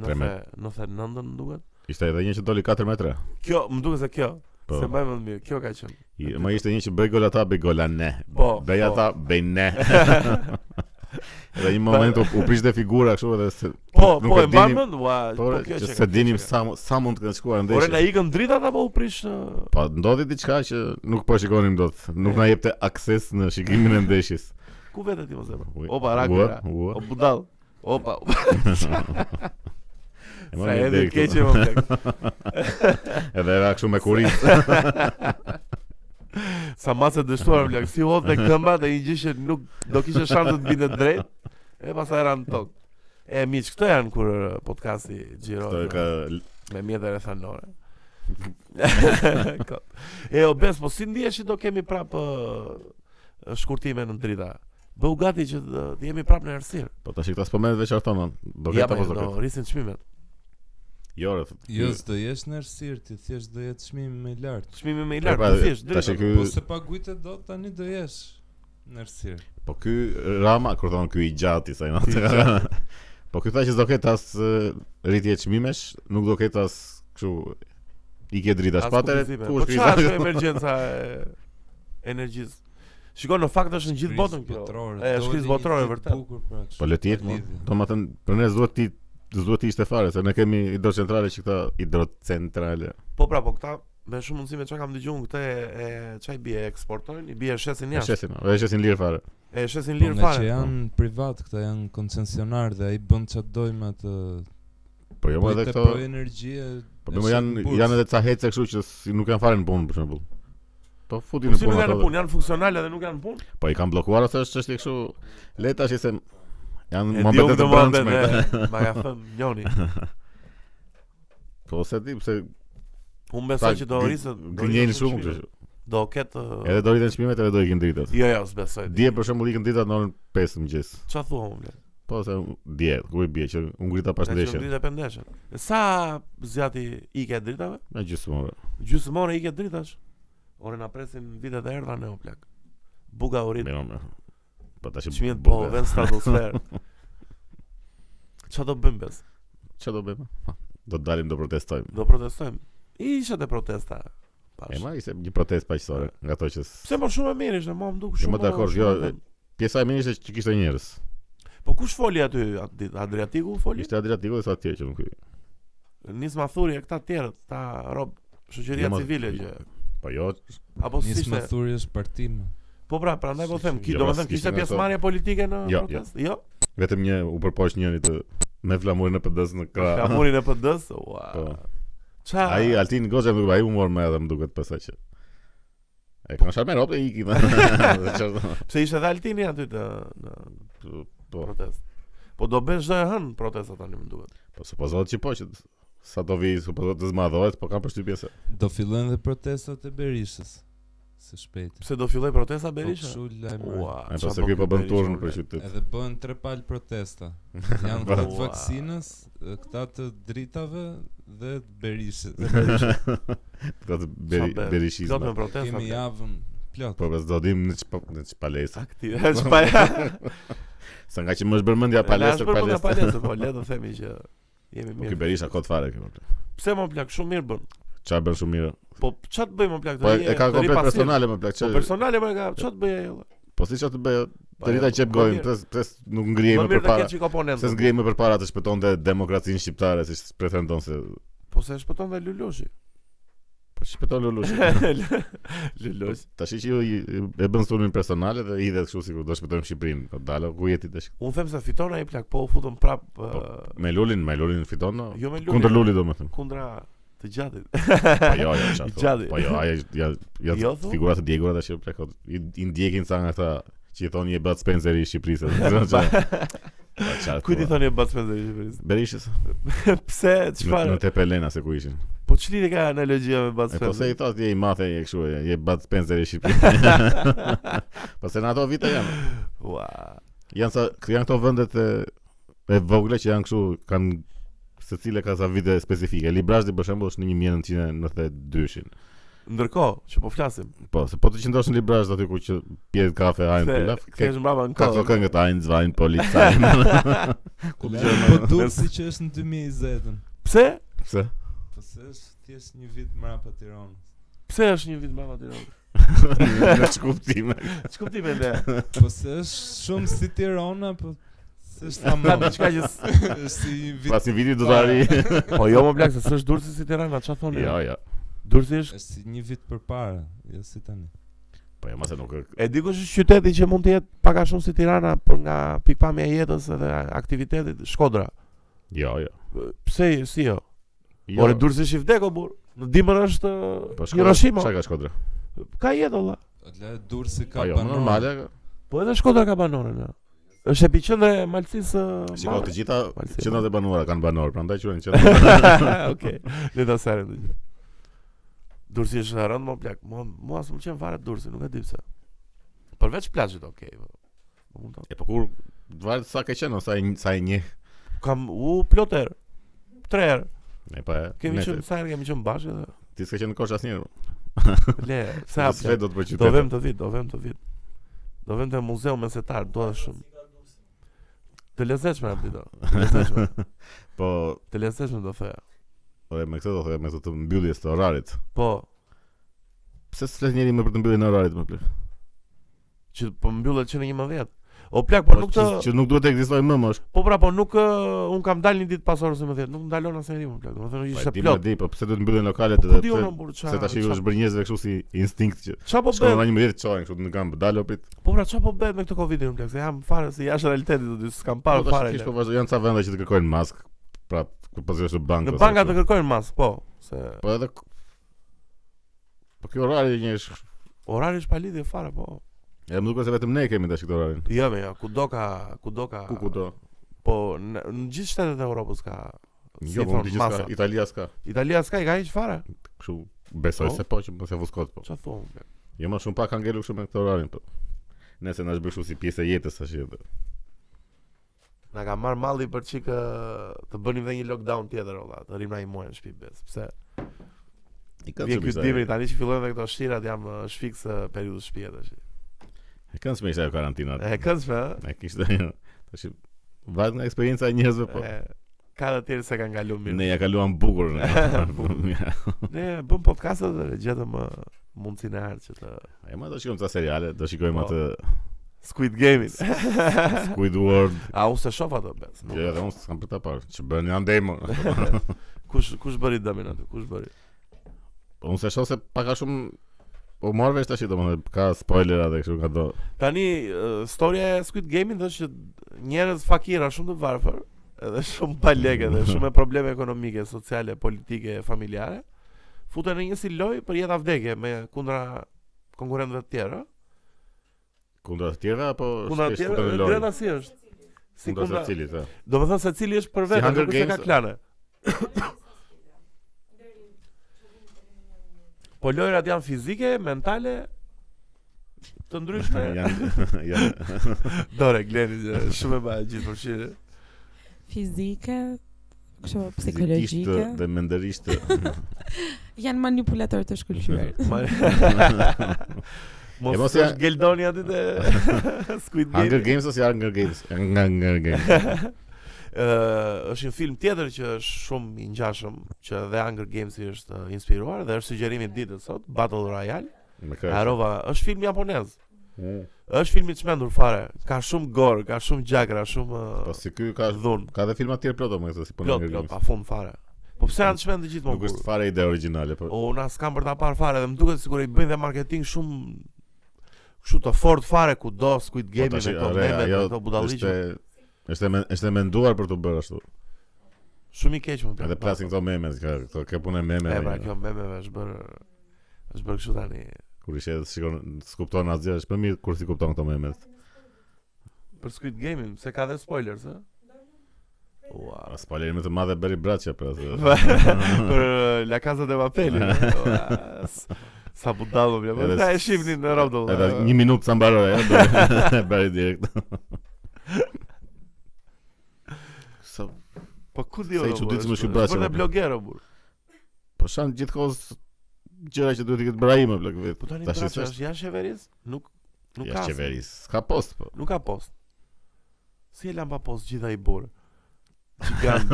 S2: 13.
S1: 90 99 më duket.
S2: Ishte edhe një që doli 4 metra.
S1: Kjo, më duket se kjo,
S2: Po.
S1: se mbaj mend mirë, kjo ka qenë.
S2: I- Ma ishte një që bëj gol ata, bëj gola ne.
S1: Po,
S2: Bëj
S1: po.
S2: ata, bëj
S1: *laughs*
S2: ne. *laughs* Edhe një moment u, u prishte figura kështu edhe se
S1: Po,
S2: nuk
S1: po
S2: e
S1: e mban
S2: dinim-
S1: mend, ua,
S2: Po,
S1: po kjo
S2: që
S1: që.
S2: se dinim sa mu- sa mund të kenë shkuar ndeshja.
S1: Ore na ikën dritat apo u prish? ë,
S2: Po ndodhi diçka që nuk po e shikonim dot. Nuk na jepte akses në shikimin e ndeshjes.
S1: Ku vete ti mos e bra?
S2: Ui,
S1: Opa, rak.
S2: ua,
S1: rak.
S2: ua.
S1: O budall. Opa.
S2: E
S1: Sa
S2: morëm
S1: edhe
S2: ide këtu.
S1: keq e më plak.
S2: Edhe era kështu me kurit.
S1: *laughs* Sa masë dështuar plak, si
S2: *laughs*
S1: hodhte këmba dhe një gjë që nuk do kishte shanse të binte drejt. E pastaj ran tok. E miq, këto janë kur ë, podcasti
S2: Kto
S1: xhirohet
S2: ka
S1: me mjetër e thanore. Kot. e o bes, po si ndihesh që do kemi prap ë, shkurtime në drita? Bëu gati që të të jemi prap në errësirë.
S2: Po tash këta s'po merret veç artonon. Do
S1: Ja,
S2: ketë apo
S1: po,
S2: s'do
S1: do
S2: ketë.
S1: rrisin çmimet.
S2: Jo, rreth.
S3: Jo, s'do jesh në errësirë, ti thjesht do jetë çmim më i lartë.
S1: Çmimi më i
S2: Po, pra,
S1: lartë, thjesht
S2: Tash
S1: drita.
S2: ky
S3: Po se paguajte dot tani do jesh në errësirë.
S2: po ky Rama kur thon ky i gjati sa i natë. *laughs* Po ky tha që s'do ketë as e, rritje çmimesh, nuk do ketë as kështu i ke drita
S1: As
S2: shpatere,
S1: kuptime.
S2: ku
S1: Po
S2: është
S1: çfarë është
S2: kriza?
S1: kjo emergjenca e energjisë? Shikon, në fakt është në gjithë botën kjo. E, është krizë botërore vërtet.
S3: Bukur pra. kështu,
S2: *laughs* Po le të jetë,
S3: pa
S2: mo.
S3: lidhje.
S2: do më thënë, për ne s'duhet ti s'duhet ti ishte fare, se ne kemi hidrocentrale që këta hidrocentrale.
S1: Po pra, po këta me shumë mundësi me çka kam dëgjuar këte e çaj bie e eksportojnë, i bie e shesin
S2: E
S1: jashtë.
S2: shesin, e shesin lirë fare.
S1: E shesin
S3: Po,
S1: lirë
S3: Nga që
S1: fare.
S3: janë privat, këta janë koncesionar dhe ai bën çfarë doj me atë.
S2: Po jo,
S3: Po
S2: më edhe
S3: te
S2: këto,
S3: Po energjia.
S2: po më
S3: është në
S2: janë
S3: bursë.
S2: janë edhe ca hece kështu që si nuk kanë fare në punë për shembull. Po futin
S1: Po
S2: në
S1: si nuk
S2: punë
S1: janë
S2: ato.
S1: në
S2: dhe-
S1: punë, janë funksionale dhe nuk janë në punë.
S2: Po i kanë bllokuar ose është çështje kështu le tash se janë
S1: E di
S2: mohabete
S1: unë
S2: të
S1: të
S2: brendshme.
S1: mëndë, ma ka thënë njoni.
S2: Po se di pse
S1: Unë
S2: ta
S1: besoj që do
S2: gri-
S1: rriset. do
S2: grinjejnë
S1: rriset
S2: shumë
S1: çmimet.
S2: kështu.
S1: Do ketë... e,
S2: Edhe do rriten çmimet edhe do ikin dritët.
S1: Jo, jo, s'besoj.
S2: Dje për shembull ikën dritat në orën 5 të mëngjes.
S1: Qa thua unë, ble?
S2: Po se dje, ku i bie që u ngrita pas
S1: Ka qenë
S2: ndeshjes.
S1: drita për ndeshjen. Sa zjati i ke dritave?
S2: Me gjysmore.
S1: Gjysmore i ke dritash. Ore na presin vitet e erdha në Oplak. Buga u rit.
S2: Mirë, mirë. Po tash
S1: Çmimet
S2: bukur.
S1: po vën stratosfer.
S2: *laughs*
S1: Çfarë do bëjmë bes?
S2: Çfarë do bëjmë? Ha, Do dalim do protestojmë.
S1: Do protestojmë. Isha te protesta.
S2: E
S1: Pash.
S2: ma ishte një protestë paqësore nga ato që s-
S1: Pse po shumë e mirë ishte, mua më duk
S2: Jo,
S1: shumë.
S2: më dakord,
S1: shumë
S2: jo,
S1: e mirë.
S2: pjesa e mirë ishte që kishte njerëz.
S1: Po kush foli aty atë ditë? Adriatiku foli?
S2: Ishte Adriatiku dhe sa të tjerë që nuk hyjnë.
S1: Nis Mathuri e këta të tjerët, ta rob shoqëria
S2: Jo, ma-
S1: civile që
S2: Po jo,
S1: apo
S3: Nis
S1: s'ishte.
S3: më thuri është partim.
S1: Po pra, prandaj po them, ki
S2: Jo,
S1: do
S2: ma
S1: të them
S2: s'kishte
S1: kishte
S2: nga
S1: pjesëmarrje politike në
S2: Jo, jo.
S1: protestë? Jo.
S2: vetëm një u përpoq njëri të me flamurin e PD-s në krah.
S1: Flamurin e PD-s.
S2: Pra- Po.
S1: Ua. Ça?
S2: *laughs* Ai Altin Goxha më duket, ai u mor më edhe më duket pastaj që. E kanë sharmer opë i *laughs* kinë.
S1: Pse ishte dhe Altini aty të në
S2: Po,
S1: protestë. Po do bën çdo e hën protesta tani më duket.
S2: po supozohet që po që sa do vi supozohet të zmadhohet, po kam përshtypjen se
S3: Do fillojnë dhe protestat e Berishës. Së shpejti.
S1: Pse do filloj protesta
S3: Po
S1: Berisha?
S3: kështu lajmërojnë.
S1: Ua.
S2: ai
S1: ça
S2: pas
S1: do
S2: ky po
S1: ky
S2: bën
S1: Berisha,
S2: turn
S1: ule.
S2: për qytet.
S3: Edhe bën tre palë
S2: *laughs*
S3: protesta. Janë
S2: Po.
S3: këta të vaksinës, këta të dritave dhe të
S2: *laughs*
S3: Berishës.
S2: Ka të
S1: Ça bën? Plot
S2: berishizëm.
S1: me protesta.
S3: Kemi
S1: *laughs*
S3: javën plot.
S2: Po pas do dim në çpa- në
S1: *laughs*
S2: çpalesa.
S1: Aktiv. Shpa.
S2: Sa nga që më është bërmendja palestra
S1: Lash për mendja
S2: palestra. *laughs*
S1: palestër, po le të themi që jemi
S2: Po
S1: mirë.
S2: ky Berisha kot fare këtu.
S1: Pse më plak shumë mirë bën?
S2: Çfarë bën shumë mirë.
S1: Po ç'a të bëj më plak
S2: Po e- e ka
S1: të ri
S2: komplet
S1: pasir.
S2: personale më plak.
S1: Po
S2: çfarë-
S1: personale më ka, ç'a të bëj ajo?
S2: Po si çfarë të bëj? Të rita
S1: ja,
S2: qep
S1: jo, më
S2: gojën,
S1: mirë.
S2: pres pres nuk
S1: Më
S2: ngrihemi
S1: mirë të
S2: përpara.
S1: ketë çik oponent.
S2: Se s'ngrihemi përpara të shpëtonte demokracinë shqiptare, siç pretendon se
S1: Po se shpëton dhe
S2: *laughs*
S1: *laughs* Lulushi.
S2: po shpëton Lulush.
S1: Lulush.
S2: *laughs* Tash që ju i- i- e bën sulmin personale dhe hidhet kështu sikur do shpëtojmë Shqipërinë. Po dalo ku jeti tash.
S1: Unë them se fiton ai plak, po u futëm prap ë,
S2: Me Lulin, me Lulin fiton. no?
S1: jo me Lulin.
S2: Kundër Lulit domethënë.
S1: kundra të gjatit.
S2: Po jo, jo, çfarë.
S1: I
S2: thua.
S1: gjalli.
S2: Po jo,
S1: *laughs*
S2: ai ja ja
S1: Jo, thua?
S2: figura të djegura tash jo, plakot. I, i ndjekin sa nga ata që i thonë je Bud Spencer i Shqipërisë.
S1: *laughs* Kujt i jo thoni Bud Spencer i Shqipërisë?
S2: Berishës?
S1: *laughs* Pse
S2: Në, në
S1: çfarë?
S2: Tepelena se ku ishin.
S1: Po ç'lidhje ka analogjia me Bud
S2: E po se
S1: Spencer?
S2: i thot je i mathe je kështu je, je Bud Spencer i
S1: *laughs*
S2: Shqipërisë. po se në ato vite janë.
S1: Ua.
S2: Janë sa janë këto vendet e e vogla që janë kështu kanë secile ka sa vite specifike. Librazhi për shembull është në 1992-shin.
S1: Ndërkohë që po flasim,
S2: Po, se po të qëndrosh në Librazh aty ku që pije kafe, hajnë
S1: se
S2: pilaf, ke
S1: kthehesh mbrapa në
S2: ka këto
S1: kohë.
S2: këngë të hajnë zvajnë po
S1: *laughs*
S2: policajnë.
S3: Po
S2: *laughs*
S3: duhet si që është në 2020-ën.
S1: Pse? *laughs*
S2: Pse?
S3: Po se është thjesht një vit mrapa Tiranës.
S1: Pse është një vit mbrapa Tiranës?
S2: Në çkuptime.
S1: Ç'kuptime ne?
S2: *laughs*
S3: Po se është shumë si Tirana, po se *laughs* është
S1: Ka
S3: tamam.
S1: diçka që s-
S3: është si një vit.
S2: Pas një viti do të arri.
S1: Po jo më blaq se s'është Durrësi si Tirana, ç'a thonë?
S2: *laughs* Jo, jo.
S1: Durrësi është
S3: Është si një vit përpara, jo si tani.
S2: Po jo, mase nuk e-
S1: E di kush është qyteti që mund të jetë pak a shumë si Tirana, por nga pikpamja e jetës edhe aktivitetit Shkodra.
S2: Jo, jo.
S1: Pse si jo?
S2: Jo.
S1: jo. Ore Durrësi është i vdekur burr. Në dimër është
S2: Po
S1: po,
S2: Shkodra-
S1: Hiroshima.
S2: Çka ka Shkodra?
S1: Ka jetë olla.
S3: Atë dursi ka
S2: Po jo,
S3: banorë.
S2: normale.
S1: Po edhe Shkodra ka banore në. Është epiqendra e malësisë. ë,
S2: Shikoj
S1: madhe.
S2: të gjitha
S1: Malsi.
S2: qendrat e banuara kanë banor, prandaj quhen *laughs* qendra.
S1: *laughs* Okej. Le ta sarem. të gjitha. Durrësi është rënd më plak. Mua mua s'm pëlqen fare Durrësi, nuk e di pse. Përveç plazhit, okay. po. Po mund ta.
S2: E po kur varet sa ka qenë ose sa e një.
S1: Kam u ploter. Tre herë.
S2: Ne pa.
S1: Kemi
S2: ne-
S1: qenë sa herë kemi qenë bashkë
S2: *laughs*
S1: edhe
S2: po, Ti s'ka qenë në kosh asnjëherë.
S1: Le, pse
S2: Sa
S1: hapse?
S2: s've do të bëj
S1: Do vëm
S2: qytet.
S1: të vit, do vëm të vit. Do vëm te muzeu mesetar, do shumë. Të lezetshme aty do. Të
S2: *laughs*
S1: lezetshme.
S2: *laughs* Po,
S1: Të lezetshme do thoya.
S2: ore me këtë do thoya me këtë të mbylljes të orarit.
S1: Po,
S2: Pse s'flet njëri më për të mbylljen e orarit më plot?
S1: që po mbyllet që në 11. O plak, po nuk
S2: që-
S1: të
S2: që nuk duhet të ekzistojë më më.
S1: Po pra, po nuk ë, un kam dalë një ditë pas orës 11, nuk ndalon asnjëri më plak. Domethënë
S2: Po
S1: ishte
S2: e di, më
S1: plot.
S2: di, po pse duhet mbyllen lokalet
S1: Po ku
S2: edhe
S1: di unë
S2: pse-
S1: burr
S2: se
S1: çfarë?
S2: tash ju është bërë njerëzve kështu si instinkt që
S1: Ç'a po
S2: shkon
S1: bëhet?
S2: në një mëdhjet çohen kështu në kamp dalo prit.
S1: Po pra, ç'a po bëhet me këtë Covidin më plak? Se jam fare se jashtë realitetit, do të s'kam parë
S2: Po, tash
S1: fare.
S2: kish po
S1: plak.
S2: vazhdo, janë ca vende që të kërkojnë mask, pra ku pas është banka.
S1: Në
S2: ose
S1: banka
S2: kështu.
S1: të kërkojnë mask, po, se
S2: Po edhe k- Po kjo orari një është
S1: orari është pa lidhje fare, po.
S2: E më duket se vetëm ne kemi tash këtë orarin
S1: Jo, jo, kudo ka, kudo ka.
S2: Ku ku do
S1: Po në, në gjithë shtetet e Europës ka.
S2: Jo,
S1: si
S2: po më
S1: thon,
S2: di që
S1: masa.
S2: s'ka Italia s'ka
S1: Italia s'ka i ka hiç fare.
S2: Kështu besoj
S1: Po.
S2: se po që mos e vuskot po
S1: Çfarë thon? bre?
S2: Jo më shumë pak kanë ngelur kështu me këtë orarin po Nëse na është bërë kështu si pjesë e jetës tash jo, po. edhe
S1: Na ka marr malli për çik ë, të bënim edhe një lockdown tjetër olla, të rrim na një muaj në shtëpi bes. Pse?
S2: I kanë
S1: Vjen ky
S2: shumisa
S1: dimri tani që fillojnë edhe këto shirat jam ë, shfik se periudhë shtëpi tash.
S2: ajo. E kanë shumisa ajo karantina
S1: E këndshme, ë?
S2: jo. E kishte tash Vajt nga eksperienca e njerëzve po
S1: E, Ka të tjerë se kanë kalu mirë.
S2: Ne ja kaluam bukur. Ne
S1: *laughs* Ne bëm podcastet dhe gjetëm ë, mundësinë e herë që të
S2: E ma do shikojmë ca seriale, do shikojmë
S1: Po.
S2: atë
S1: Squid Game-in.
S2: Squidward.
S1: *laughs* A unë se shoh ato bes. nuk-
S2: Jo, edhe unë s'kam për ta parë. Që bën janë demo.
S1: Kush kush bëri dëmin aty? Kush bëri?
S2: Po unë se shoh se pak a shumë po marr vesh tash domethënë ka spoilera dhe kështu ka do.
S1: Tani uh, storia e Squid Game-it është që njerëz fakira shumë të varfër, edhe *laughs* shumë pa lekë
S2: *laughs*
S1: dhe shumë me probleme ekonomike, sociale, politike, familjare, futen në një si lojë për jeta vdekje me kundra konkurentëve të tjerë. ë?
S2: Kundra të tjera apo
S1: Kundra të
S2: thjesht
S1: tjerë,
S2: kundra
S1: ë,
S2: në Po, lojë?
S1: Greta si është? Si
S2: Kundra
S1: kundra,
S2: të cilit,
S1: *laughs*
S2: e.
S1: do të thonë se cili është për
S2: Si
S1: vetë,
S2: Hunger
S1: nuk është se ka
S2: Games-
S1: klane. po lojrat janë fizike, mentale, të ndryshme.
S2: *laughs* Janë janë
S1: Dore, Gleni, e, shumë e ba e gjithë përfshirë.
S4: Fizike, kështu
S2: fizikisht
S4: psikologjike.
S2: dhe mendërisht.
S4: Janë manipulator të shkëlqyer.
S1: Ma-
S2: *laughs*
S1: Mos
S2: E mos
S1: të
S2: ja-
S1: është Geldoni aty te
S2: *laughs*
S1: Squid Game.
S2: Hunger Games ose Hunger Games? Hunger Games.
S1: *laughs* Ë, është një film tjetër që është shumë i ngjashëm, që dhe Hunger Games i është ë, inspiruar dhe është sugjerimi i ditës sot, Battle Royale.
S2: Me kë?
S1: Harova, është film japonez.
S2: Mm.
S1: Është film i çmendur fare. Ka shumë gore, ka shumë gjakra, shumë
S2: Po
S1: ë,
S2: si ky ka
S1: dhun.
S2: ka edhe filma të tjerë plot më këtë si punon
S1: Plot,
S2: Hunger
S1: plot,
S2: Games.
S1: pa fund fare. Po pse janë çmendur gjithmonë?
S2: Nuk
S1: kur-
S2: është fare ide origjinale, po.
S1: O, na s'kam për ta parë fare dhe më duket sikur i bëjnë dhe marketing shumë kështu të fort fare ku do Squid Game me
S2: Po, tash,
S1: këto
S2: are,
S1: meme me
S2: ajo
S1: këto budalliqe.
S2: Është është e men- është e menduar për të bërë ashtu.
S1: Shumë i keq më
S2: Edhe plasin këto meme, ka- këto ke punë meme.
S1: E pra
S2: jo.
S1: kjo memeve është bërë është bërë kështu tani.
S2: Kur i shes shikon skupton asgjë, është më mirë kur si kupton këto meme.
S1: Për Squid Game-in, se ka dhe spoilers, ë? Ua.
S2: As palërim të madhe bëri pra, braçja për *laughs* atë.
S1: *laughs* për uh, La Casa de Papel. ua, s- Sa budallëm jam.
S2: Edhe
S1: Sa e
S2: s-
S1: shihni në rrotull.
S2: Edhe
S1: ë.
S2: një minutë sa mbaroi, ja, *laughs* bëri- bëri direkt. Sa
S1: Po ku di
S2: Sa
S1: unë,
S2: i
S1: ua,
S2: çuditshëm
S1: është-
S2: është ky braço,
S1: është Bërë
S2: ua.
S1: blogero bur.
S2: po shan gjithkohës gjëra që duhet të ketë bëra ime blok vet.
S1: Po tani
S2: Tash i
S1: braço
S2: thash-
S1: është jashtë qeverisë? Nuk nuk ka.
S2: Ja
S1: asnjë.
S2: qeveris. Ka post
S1: *laughs*
S2: po.
S1: Nuk ka post. Si e lan pa post gjitha i burë? Gigant.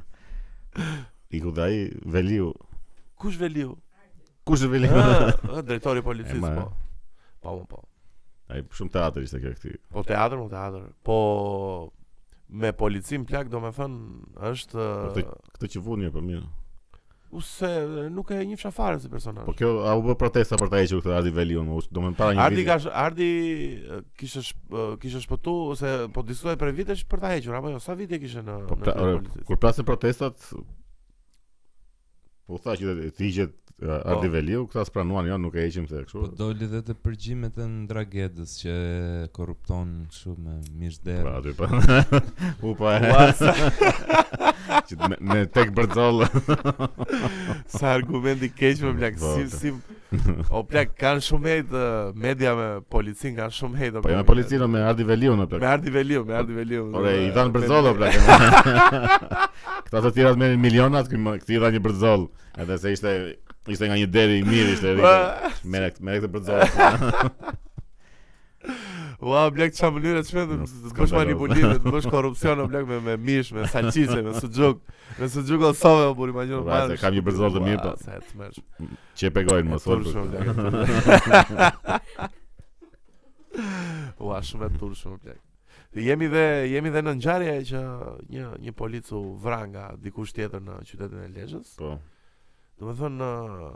S2: *laughs* Iku dhe ai Veliu.
S1: Kush
S2: *laughs*
S1: veliu?
S2: Kush është Veliu?
S1: Ë, ë, drejtori i
S2: E,
S1: policisë
S2: ma.
S1: po. Po, po, po.
S2: *laughs* Ai shumë teatër ishte kjo këtu.
S1: Po teatr, po teatr. Po me policin plak do me thënë është
S2: Po, Këtë që vuni po mirë.
S1: u se nuk e njihsha fare si personazh.
S2: Po kjo a u bë protesta për ta hequr këtë Ardi Veliun, më us- domethënë para një
S1: Ardi
S2: viti.
S1: ka sh- Ardi ë, kishte shp- ë, kishte shpëtu ose po diskutoi për vitesh për ta hequr apo jo? Sa vite kishte në
S2: Po
S1: në
S2: pra,
S1: krye
S2: ore,
S1: policisë?
S2: kur plasin protestat po u tha që të- të hiqet uh, Ardi
S1: Po.
S2: Veliu, këta s'pranuan, jo, nuk e heqim se
S3: Po
S2: kështu.
S3: doli dhe të përgjimet e Ndragedës që e korrupton kështu me mishdera.
S2: Pra
S1: *laughs*
S2: aty po. U pa.
S1: Ua, sa,
S2: *laughs* që me, me tek Bercoll.
S1: sa argumenti keq me plak
S2: Po,
S1: si
S2: po.
S1: si o plak kanë shumë hate ë, media me policin kanë shumë hate. o,
S2: Po jam
S1: plak.
S2: me policinë me Ardi po. Veliu në plak.
S1: Me Ardi Veliu, me Ardi Veliu.
S2: Ore, i dhanë
S1: Veliu.
S2: Bercolla plak. Këta të tjerat merrin milionat, ky më- këti i dha një Bercoll. Edhe se ishte ishte nga një deri i mirë ishte.
S1: Ua,
S2: Merë merë këtë Bercoll.
S1: *laughs* Ua, blek çfarë mënyre çmë të të bësh
S2: skandaloz.
S1: manipulime, të
S2: *laughs*
S1: bësh korrupsion o blek me me mish, me salçice, me suxhuk, me suxhuk osove o buri imagjino.
S2: Ua, se kam një Bercoll të mirë, po.
S1: Sa e tmerrsh.
S2: Që e pegojnë mos fol.
S1: Turshme,
S2: për-
S1: blek. e turshme. *laughs* Ua, shumë e turshme blek. Jemi dhe jemi dhe në ngjarje që një një polic u vra nga dikush tjetër në qytetin e Lezhës.
S2: Po.
S1: Do të thonë ë,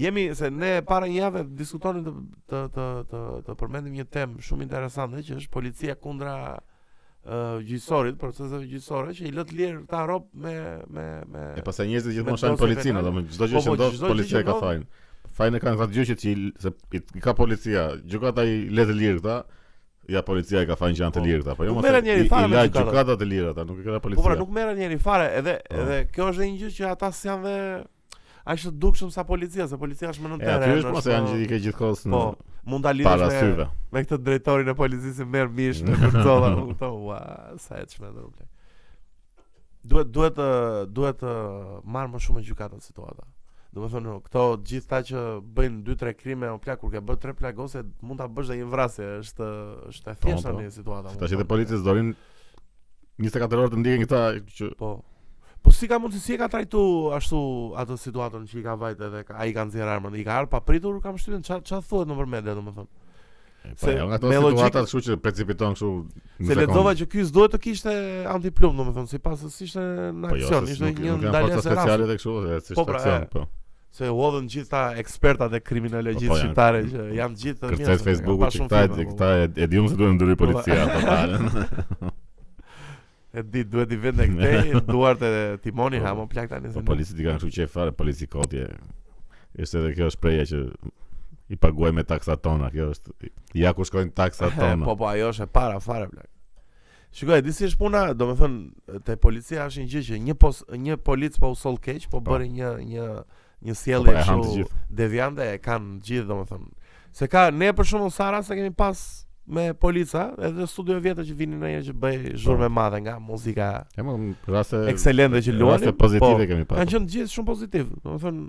S1: jemi se ne para një javë diskutonim të të të të, të përmendim një temë shumë interesante që është policia kundra uh, gjyqësorit, proceseve gjyqësore që i lë të lirë këta rob me me me
S2: E pastaj njerëzit gjithmonë
S1: Me
S2: shajnë
S1: dosje
S2: policinë,
S1: penale.
S2: domethënë çdo
S1: Po,
S2: gjë që
S1: po,
S2: ndodh
S1: çdo gjë që
S2: policia e ka
S1: ndodh.
S2: fajin. Fajin e kanë këta gjyqe që i- se i i ka policia, gjykata i le të lirë këta. Ja policia e ka fajin që janë të
S1: Po.
S2: lirë këta, po jo
S1: Nuk
S2: mos.
S1: merren
S2: e-
S1: njerëj
S2: i-
S1: fare
S2: I
S1: me
S2: la
S1: gjykatat.
S2: gjykata të lirë ata, nuk e ka policia.
S1: Po pra nuk merren njëri fare, edhe
S2: Po.
S1: edhe kjo është dhe një gjë që ata s'janë dhe aq të dukshëm sa policia, se policia është më në
S2: E
S1: terren.
S2: aty është mos janë gjithë i ke gjithkohës në
S1: Po, mund ta
S2: para
S1: lidhësh me
S2: syve.
S1: me këtë drejtorin e policisë që merr mish
S2: *laughs*
S1: me përcolla, u kupton, ua, sa e çmendur u plak. Duhet duhet ë, duhet të marr më shumë në gjykatë atë situata. Domethënë, këto gjithë ta që bëjnë 2-3 krime o plak kur ke bërë 3 plagose, mund ta bësh dhe një vrasje, është është e thjeshtë
S2: po.
S1: tani situata.
S2: Tash
S1: mund
S2: edhe
S1: të-
S2: policës dorin 24 orë të ndjekin këta që
S1: Po. Po si ka mundësi si e ka trajtu ashtu atë situatën që i ka vajt edhe ka- ai ka nxjerr armën, i ka arë papritur, kam shtypën ç'a ç'a thuhet nëpër media domethënë.
S2: po
S1: Se
S2: janë ato
S1: me logjik-
S2: situata kështu që precipiton kështu. në
S1: Se
S2: sekondë.
S1: lexova që ky s'duhet të kishte antiplum domethënë, sipas se ishte në
S2: Po jo,
S1: aksion,
S2: se
S1: ishte
S2: nuk-
S1: një
S2: nuk janë
S1: ndalesë
S2: forca speciale
S1: speciale
S2: dhe kështu, se s'ishte
S1: Po, pra,
S2: aksion,
S1: e.
S2: po.
S1: se u hodhën gjithë ta ekspertat e kriminalë
S2: Po,
S1: gjithë
S2: po, janë-
S1: shqiptare që janë gjithë të
S2: Kërcet
S1: mjaftë, ka
S2: Facebooku
S1: pas
S2: që
S1: shumë
S2: këta
S1: filma, po,
S2: këta e, e diun se duhet ndryri
S1: Po,
S2: policia
S1: po.
S2: apo falen.
S1: *laughs* E di duhet i
S2: *laughs*
S1: vënë këtej duart e Timoni
S2: Po.
S1: ha më plak tani se.
S2: Po
S1: nuk-
S2: policit i kanë kështu qef fare, polici kotje. Është edhe kjo shprehje që i paguaj me taksat tona, kjo është ja ku shkojnë taksat
S1: E,
S2: tona.
S1: Po po ajo është e para fare plak. Shikoj, di si është puna, domethënë te policia është një gjë që një pos, një polic po u soll keq, po
S2: Po.
S1: bëri një një një
S2: Po,
S1: sjellje
S2: e han të
S1: kështu
S2: gjithë.
S1: deviante e kanë gjithë domethënë. Se ka ne për shembull sa raste kemi pas me polica, edhe studio vjetë që vinin ndonjëherë që bëj zhurmë e madhe nga muzika
S2: Po. E më raste
S1: ekselente që luani. po,
S2: raste pozitive kemi
S1: Kanë
S2: pasur.
S1: qenë gjithë shumë pozitiv, domethënë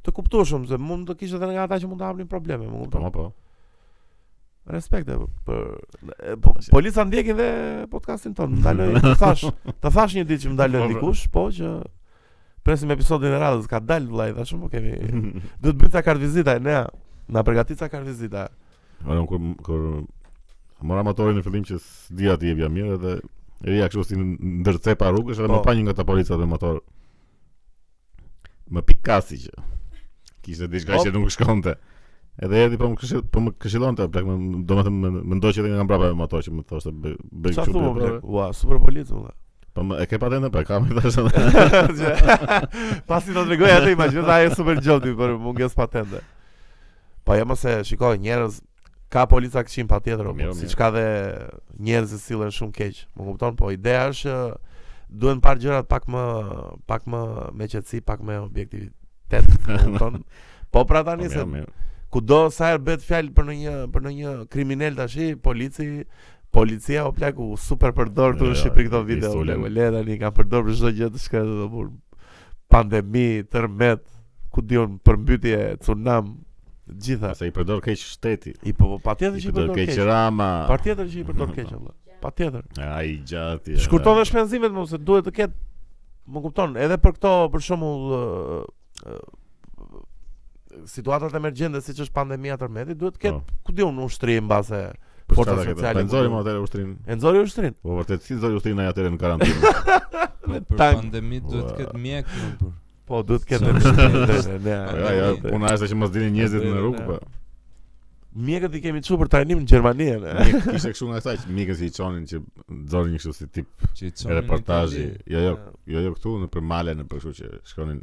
S1: të kuptueshëm se mund të kishte edhe nga ata që mund të hapnin probleme, më
S2: Po
S1: kupton.
S2: po, po.
S1: *laughs* Respekte për, për e, po, polica ndjekin dhe podcastin ton.
S2: *laughs*
S1: Ndaloj të thash, të thash një ditë që më
S2: Po,
S1: ndaloj
S2: po.
S1: dikush, po që presim episodin e radhës, ka dal vllai, tashmë po kemi. Do të bëjmë ca kartvizita, ne na përgatit ca kartvizita.
S2: Ora unë kur kur mora motorin në fillim që s'dia ti jepja mirë edhe Eria kështu si ndërcepa rrugësh edhe më
S1: Po.
S2: pa një nga ta policat dhe motor. Më pikasi që kishte diçka
S1: Po.
S2: që nuk shkonte. Edhe erdhi po më këshill po më këshillonte plak më domethënë më më ndoqë edhe nga mbrapa me motor që më thoshte "Bë- bëj
S1: Çfarë
S2: kështu.
S1: thua
S2: bëj
S1: më?
S2: prove."
S1: Ua, super policë më.
S2: Po më e ke patentën pra kam *laughs* i
S1: Po,
S2: thashë.
S1: Që- *laughs* Pasi do të tregoj atë imagjino ta e super gjoti për mungesë patente. Po jo më se shikoj njerëz ka polica këshim patjetër,
S2: Po,
S1: po,
S2: mirë,
S1: siç
S2: mirë.
S1: ka dhe njerëz që sillen shumë keq. Më kupton? Po ideja është që duhen të parë gjërat pak më pak më me qetësi, pak me objektivitet, më kupton? Po pra tani se kudo sa herë bëhet fjalë për ndonjë për ndonjë kriminal tash, polici policia o plaku super përdor këtu
S2: Jo,
S1: në Shqipëri këto
S2: i
S1: video.
S2: sulem.
S1: plaku, Le tani kanë përdor për çdo gjë të shkretë do bur. Pandemi, tërmet, ku diun përmbytje, tsunam, gjitha.
S2: se i përdor keq shteti.
S1: I po po, patjetër
S2: I
S1: që i
S2: përdor keq
S1: keq.
S2: Rama.
S1: Patjetër që i
S2: *laughs*
S1: përdor keq valla. Patjetër.
S2: Ai gjati. edhe-
S1: Shkurton dhe shpenzimet mos se duhet të ketë më kupton, edhe për këto për shembull ë, ë, situatat emergjente siç është pandemia tërmeti, duhet të
S2: Po.
S1: ketë ku diun ushtrimi mbase
S2: Për
S1: forca
S2: çfarë këta?
S1: sociale, po.
S2: Ta nxori
S1: kulturë.
S2: më atë ushtrin.
S1: e nxori ushtrin.
S2: Po vërtet si nxori ushtrin ai atëherë në *laughs* karantinë.
S3: Po për
S1: tank.
S3: pandemi duhet të ketë mjek më për.
S1: Po duhet të
S2: *laughs*
S3: Sa
S1: ketë
S3: është kjo?
S1: drejtë, ne.
S2: Po ja, ja,
S1: drejtë.
S2: puna është që mos dilin njerëzit në
S1: Drejtë,
S2: rrugë, po.
S1: Mjekët i kemi çu për trajnim në Gjermani. ne.
S2: Mjek kishte kështu nga këta që mjekët i çonin që nxorin një kështu si tip
S3: Që i çon
S2: reportazhi. Jo, jo,
S1: Ja.
S2: jo, jo këtu në për male në për kështu që shkonin,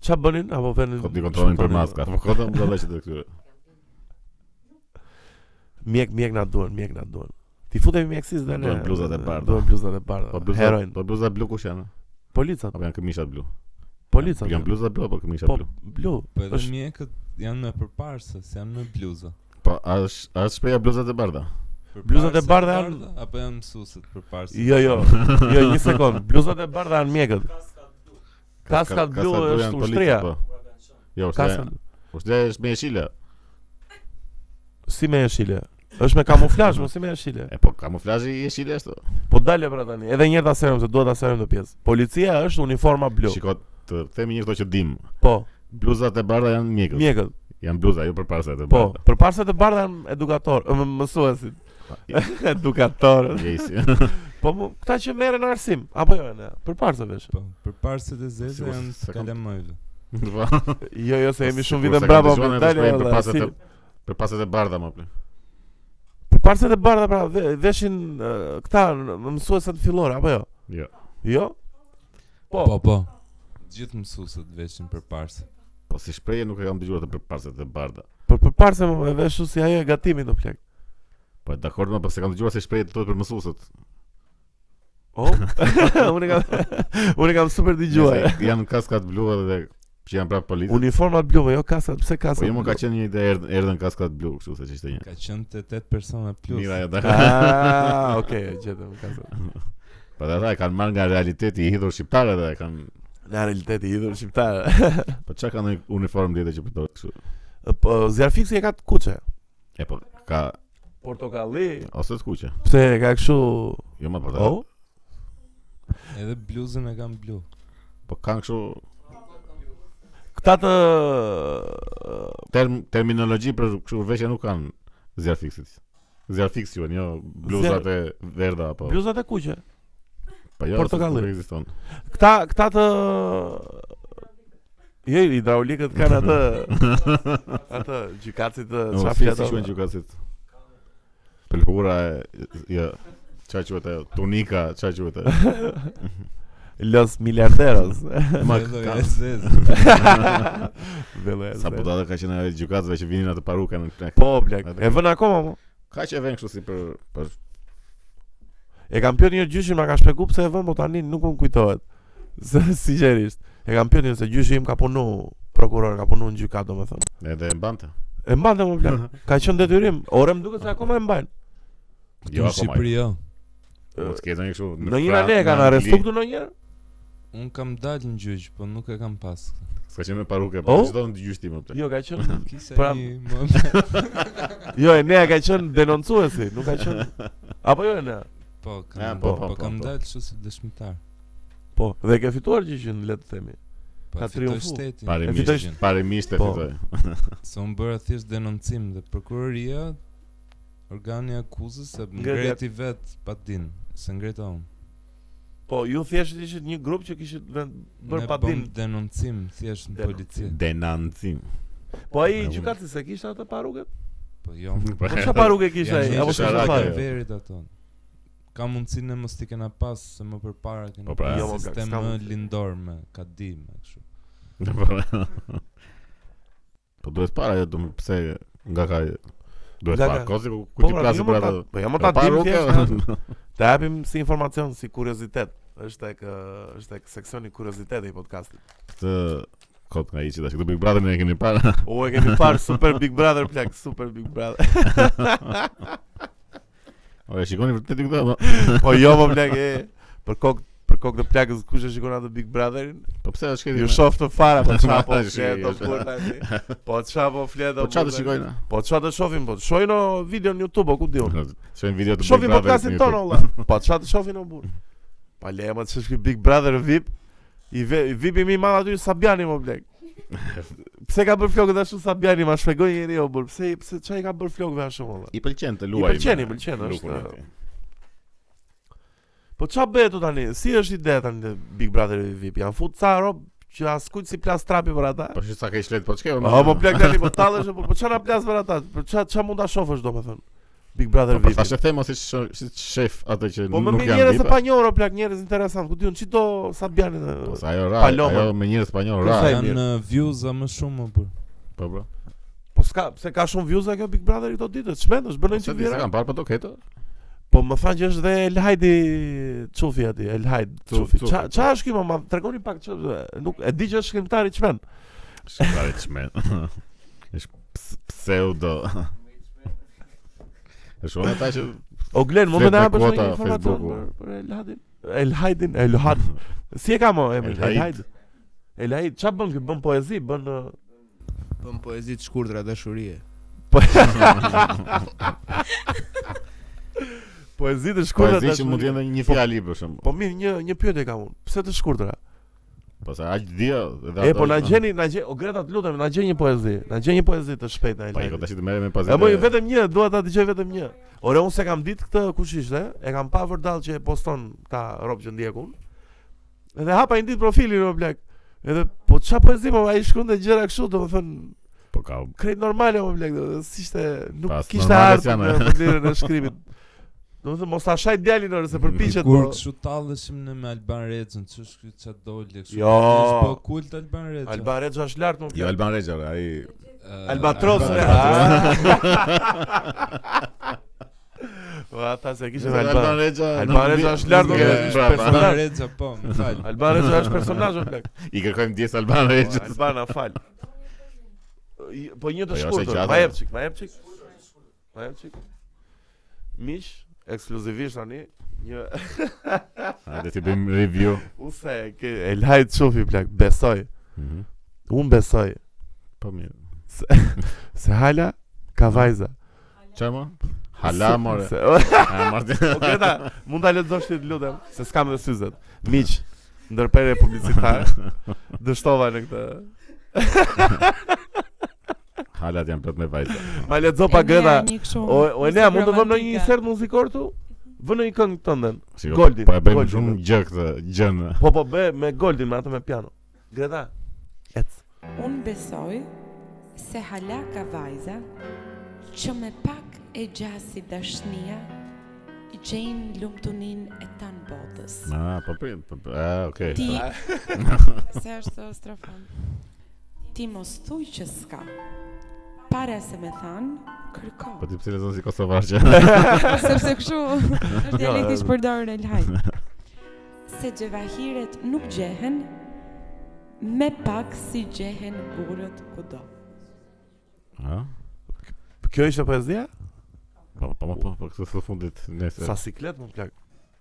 S1: Qa bënin apo vënë?
S2: kot i kontrollin për maska. Po kota më dalë që të këtyre.
S1: Mjek, mjek na duan, mjek na duan. Ti futemi mjekësisë dhe
S2: Na
S1: ne.
S2: duhen bluzat e bardha.
S1: Duhen bluzat e bardha.
S2: Po bluza,
S1: Heroin.
S2: po bluza blu kush janë?
S1: Policat,
S2: Apo Po, janë këmisha blu?
S1: policat.
S2: Janë bluza blu apo këmisha
S1: Po,
S2: blu?
S1: blu.
S3: Po edhe
S1: Është-
S3: mjekët janë me përparëse, se janë me bluza.
S2: Po, a është a është shpreha bluzat e bardha?
S1: Bluzat e
S3: Përparëse
S1: bardha janë-
S3: apo janë mësuesit përparëse?
S1: Jo, jo. Jo, një sekond. Bluzat e bardha janë mjekët. Kaskat blu
S2: Kaskat
S1: është
S2: janë
S1: ushtria.
S2: polica, po. Jo, ushtria.
S1: Kaskat
S2: Ushtria është me jeshile.
S1: si me jeshile. Është me kamuflazh, mos si me jeshile.
S2: E po, kamuflazhi i jeshile është. o.
S1: Po dale pra tani. Edhe një herë ta serëm se duhet ta serëm në pjesë. Policia është uniforma blu.
S2: Shiko, të themi një këto që dim.
S1: Po,
S2: Bluzat e bardha janë mjekët.
S1: mjekët.
S2: Janë bluza, jo përparëse të
S1: Po, përparëset e bardha janë edukator, ë, më- mësuesit. *laughs* Edukatorët.
S2: Jesi.
S1: *laughs* Po mu- këta që merren në arsim, apo jo ne? Përparëse vesh.
S3: Po, përparëset e zezë
S2: Sigur, se
S3: janë
S2: kam-
S3: kalamojve.
S2: Po.
S1: Jo, jo, se jemi shumë vite mbrapa me dalje.
S2: Për
S1: valla,
S2: paset
S1: si-
S2: e për paset e bardha më plot.
S1: Përparëset e bardha pra ve- veshin ë, këta në- në mësuesat fillore apo jo?
S2: Jo.
S1: Jo? Po.
S3: Po, po. Gjithë mësuesit veshin përparëse.
S2: Po si shprehje nuk e kam dëgjuar të për paset e bardha.
S1: Për përparëse më e veshu si ajo e gatimit do plak.
S2: Po dakord, më po se kam dëgjuar se shprehje të thotë për mësuesët.
S1: Oh. *laughs* unë e kam *laughs* unë e kam super dëgjuar.
S2: Nëse Janë kaskat blu edhe që janë prapë policë.
S1: Uniformat blu, jo kasat, pse
S2: Po
S1: kasat?
S2: jo më ka
S1: blu?
S2: qenë një ide erdhën erdhën kaskat blu, kështu se ç'ishte një.
S3: Ka qenë të 8 persona plus.
S2: Mira ja da.
S1: Ah,
S2: *laughs*
S1: okay, e gjetëm kasat.
S2: Po dhe ata e kanë marrë nga realiteti i hidhur shqiptar edhe e kanë
S1: Nga realiteti i idhur shqiptar.
S2: Po çka ka ndonjë uniform tjetër që përdoret kështu?
S1: *laughs* po Zjarfiksi e ka të kuqe.
S2: E po ka
S1: Portokalli.
S2: ose të kuqe.
S1: Pse e ka kështu?
S2: Jo më po. ta-
S1: Oh,
S3: Edhe bluzën e kam blu.
S2: Po kanë kështu
S1: këta të
S2: term terminologji për kështu veshje nuk kanë zjarr fiksit. Zjarr fiksi ju, jo bluzat e verdha apo.
S1: bluzat e kuqe.
S2: Po jo.
S1: portokalli.
S2: se Nuk ekziston.
S1: Këta këta të Jo, hidraulikët kanë atë atë gjykacit të
S2: Po
S1: çfarë
S2: fiksi
S1: fletë.
S2: quhen gjukacit. Pelkura e jo. Çfarë quhet ajo? Tunika, çfarë quhet
S1: *laughs*
S2: ajo?
S1: *laughs* Los miliarderos.
S2: *laughs* Ma
S3: Edhe
S2: ka-
S3: e zezë.
S1: Vëllë.
S2: Sa po data ka qenë ajo gjukatëve që vinin atë parukën në knakë.
S1: Po, blek. E vën akoma mo.
S2: Ka që e vën kështu si për për
S1: E kam pyetur një gjyshi më ka shpjegu pse e vën, po tani nuk më kujtohet. *laughs* Se sinqerisht. E kam pyetur se gjyshi im ka punu prokuror, ka punu në gjykat domethënë.
S2: edhe e mbante.
S1: E mbante më plan. Ka qenë detyrim. Ore më duket se akoma e mbajnë.
S2: *laughs* Jo
S3: në
S2: akoma.
S3: Shqipëri jo.
S2: Po të ketë një kështu.
S1: Në një ne e kanë arrestu këtu në një
S3: Unë kam dalë në gjyq, po nuk e kam pas.
S2: S'ka qenë me parukë,
S1: Oh?
S2: po çdo në gjyshti më plot.
S1: Jo, ka qenë.
S3: Kisha
S1: Pra-
S3: një moment.
S1: Jo, e ne ka qenë denoncuesi, nuk ka qenë. *laughs* Apo jo e ne.
S3: *laughs* Po, kam,
S2: Ja, po,
S3: po,
S2: po, po,
S3: kam
S2: po.
S3: dalë kështu si dëshmitar.
S1: Po, dhe ke fituar gjyqin, le të themi.
S3: Po,
S1: Ka
S3: e fitoj
S1: triumfu.
S3: shtetin.
S1: E
S2: Parimisht,
S1: fitoj
S3: gjyqin.
S2: parimisht e
S1: Po.
S2: fitoj.
S3: Se unë bëra thjesht denoncim dhe prokuroria organi i akuzës se
S1: Ngreti
S3: ngreti vet pa din, se ngreta unë.
S1: Po, ju thjesht ishit një grup që kishit vend bërë
S3: Ne
S1: pa
S3: bëm
S1: din.
S3: denoncim thjesht në
S1: Denoncim.
S3: polici.
S2: Denancim.
S1: Po ai
S2: Ne bëm-
S1: gjykati se kishte atë parukë?
S3: Po jo.
S1: Po çfarë parukë kishte
S3: Janë
S1: ai?
S3: gjithë
S1: Apo
S2: çfarë
S1: çfarë
S2: ka
S1: fare?
S2: ajo?
S3: verit ato. Ka mundësinë mos ti kena pas se më përpara kena
S2: Po pra.
S3: pas
S1: Jo, mo, plak,
S3: sistem
S1: s'ka mundësi.
S3: lindor me ka di me kështu.
S2: Po duhet para, jo, do më pse nga ka duhet
S1: Nga
S2: para.
S1: ka-
S2: Kozi ku ku
S1: Po,
S2: ti
S1: pra,
S2: plasi
S1: jo,
S2: për
S1: mo,
S2: atë.
S1: ta- Po jam ta dim
S2: parukë,
S1: thjesht.
S2: *laughs*
S1: Të japim si informacion, si kuriozitet. Është tek ë, është tek seksioni kuriozitete i podcastit.
S2: Këtë kot nga iqi tash. Këtë Big Brother ne e keni para. *laughs*
S1: O e kemi parë Super Big Brother plak, Super Big Brother.
S2: *laughs* O e shikoni vërtet këto? po?
S1: Po jo më plak e për kok për kok të plakës kush e shikon atë Big Brotherin?
S2: Po pse është
S1: Ju
S2: këtë?
S1: shoh të fara po çfarë po *laughs*
S2: Ma,
S1: flet do
S2: shikoj,
S1: kur tani. Po çfarë po flet do.
S2: Po
S1: kur
S2: çfarë të
S1: tani? *laughs*
S2: shikojnë?
S1: Po çfarë të shohim po? Shohin o video në YouTube, o ku diun.
S2: Shohim video të
S1: Shohim podcastin
S2: në
S1: ton
S2: YouTube.
S1: olla. Po çfarë të shohin o burr. Pa lema të shkoj Big Brother VIP. I ve, i VIP i mi madh aty Sabiani më blek. Pse ka bër flokët ashtu Sabiani, ma shpjegoj njëri o burr. Pse pse çai ka bër flokëve ashtu olla.
S2: I pëlqen të luaj.
S1: I pëlqen,
S2: me-
S1: i pëlqen,
S2: me
S1: është-
S2: lukun atje.
S1: Po ç'a bëhet o tani? Si është ide tani te Big Brother VIP? Jan fut ca rob që askujt si plas trapi për ata.
S2: Po shi sa ke shlet po çka?
S1: Ah, po blek tani po tallesh, po po ç'a na plas për ata? Po ç'a ç'a mund ta shohësh domethën? Big Brother
S2: Po
S1: VIP.
S2: tash e them ose sh- si shef atë që
S1: Po më
S2: nuk
S1: mirë
S2: janë
S1: njerëz
S2: VIP.
S1: se pa njohur o plak njerëz interesant, ku diun çito Sabiani. dhe-
S2: Po sa ajo rar,
S1: Paloma.
S2: ajo me njerëz pa njohur
S1: Kjo
S2: rar.
S1: sa Pra, e
S3: Janë
S1: mirë.
S3: uh, views a më shumë më për.
S2: Po po.
S1: Po s'ka, pse ka shumë views kjo Big Brother këto ditë, çmendesh, bënën
S2: Se
S1: çu
S2: di se
S1: vira.
S2: kanë parë po do ketë.
S1: Po më thanë që është dhe El Hajdi Çufi aty, El Hajd
S2: Cu-
S1: Çufi.
S2: Cufi,
S1: Ça
S2: po.
S1: ça është ky më, ma- tregoni pak ç'është, nuk e di që është shkrimtar i çmend.
S2: Shqiptari çmen. *laughs* Është ps- pseudo. *laughs* Është ona ta që
S1: O Glen, mund të
S2: Flet
S1: na
S2: me
S1: japësh
S2: kuota
S1: një informacion
S2: Facebooku.
S1: për, për El Hajdin? El Hajdin, El
S2: po
S1: Had. Si e ka më emrin?
S2: El Hajd.
S1: El Hajd. El Hajd, ç'a bën ky? Bën poezi, bën uh,
S5: Po në poezi të shkurtra dashurie.
S1: po Poezi Po të shkurtra.
S2: poezi Po që
S1: dashuri.
S2: mund të jenë një fjalë për shemb.
S1: Po mirë, një një pyetje kam unë. Pse të shkurtra?
S2: Po sa aq dia edhe
S1: E po na
S2: është-
S1: gjeni, na gjeni, o Greta të lutem, na gjeni një poezi. Na gjeni një poezi të shpejtë na
S2: Po iko
S1: Elhaj.
S2: tash të merrem me pazi.
S1: E më vetëm një, dua ta dëgjoj vetëm një. Ore unë se kam ditë këtë kush ishte, e kam pa vërdall që e poston ta rob që ndjek unë. Edhe hapa një ditë profilin o blek. Edhe po ç'a poezi po ai shkruante gjëra kështu, domethënë
S2: po ka.
S1: krejt normale o blek, domethënë s'ishte nuk
S2: Pas eh.
S1: kishte
S2: normale
S1: art
S2: s'janë,
S1: në
S2: e.
S1: mënyrën e shkrimit. Domethënë mos ta shaj djalin ore se përpiqet
S3: Kur
S1: po.
S3: kështu talleshim ne me Alban Rexën, ç'është ky ça doli kështu.
S1: Jo.
S3: Është po kult Alban Rexha.
S1: Alban Rexha është lart më
S2: Jo
S1: blek.
S2: Alban Rexha, ai
S3: Eh,
S1: Albatros.
S3: Alban-
S1: e, *laughs* a. Po ata se kishin Alban.
S2: Rexha.
S1: Alban
S2: nuk-
S1: Rexha është lartë,
S2: nuk- pra,
S1: nuk- është
S2: brapa.
S1: person-
S3: Alban Rexha po,
S1: *laughs*
S3: më fal.
S1: Alban Rexha është personazh o
S2: *laughs*
S1: blek.
S2: I kërkojmë djes Alban Rexha.
S1: Albana, fal. I- Po një
S2: Po
S1: të
S2: jo, se
S1: shkurtër.
S2: gjatë.
S1: Ma jep çik, ma jep çik. Ma jep çik. Mish, ekskluzivisht tani, Një *laughs*
S2: Hajde ti bëjmë review.
S1: u se ke e lajt shufi plak, besoj.
S2: Mhm.
S1: Un besoj
S2: Po mirë.
S1: se hala ka vajza.
S2: Çfarë më? Hala more.
S1: Se, *laughs*
S2: Ha, Martin.
S1: o Greta, mund ta lexosh ti lutem, se s'kam dhe syzet. Miq, ndërprerje
S2: *laughs*
S1: publicitare. Dështova në këtë.
S2: Halat janë plot me vajza.
S1: Ma lexo Po, pa Greta. O
S4: Mm,
S1: o e nea, mund të vëmë në një
S4: insert
S1: insert muzikor tu? Vë në një këngë tënde.
S2: Shiko,
S1: Goldi,
S2: Po e bëjmë
S1: Goldi,
S2: shumë
S1: Goldi.
S2: gjë këtë gjën.
S1: Po po bë me Goldin, me atë me piano. Greta. Ec.
S4: Unë besoj se hala ka vajza që me pak e gjasi dashnia i gjenë lumtunin e tanë botës.
S2: Ah, po prit. po- po- Ah, okay.
S4: Ti... *laughs* se është strofon. Ti mos thuj që s'ka. Para se me thanë, kërko.
S2: Po ti pse lezon si kosovarçe?
S1: *laughs*
S4: *laughs* sepse kështu është dialekti
S1: Jo,
S4: që përdorën Elhaj. Se xhevahiret nuk gjehen, me pak si gjehen gurët kudo.
S2: Ah.
S1: Kjo ishte poezia?
S2: Po po po po këtë së fundit
S1: Sa
S2: nesër.
S1: siklet më plak.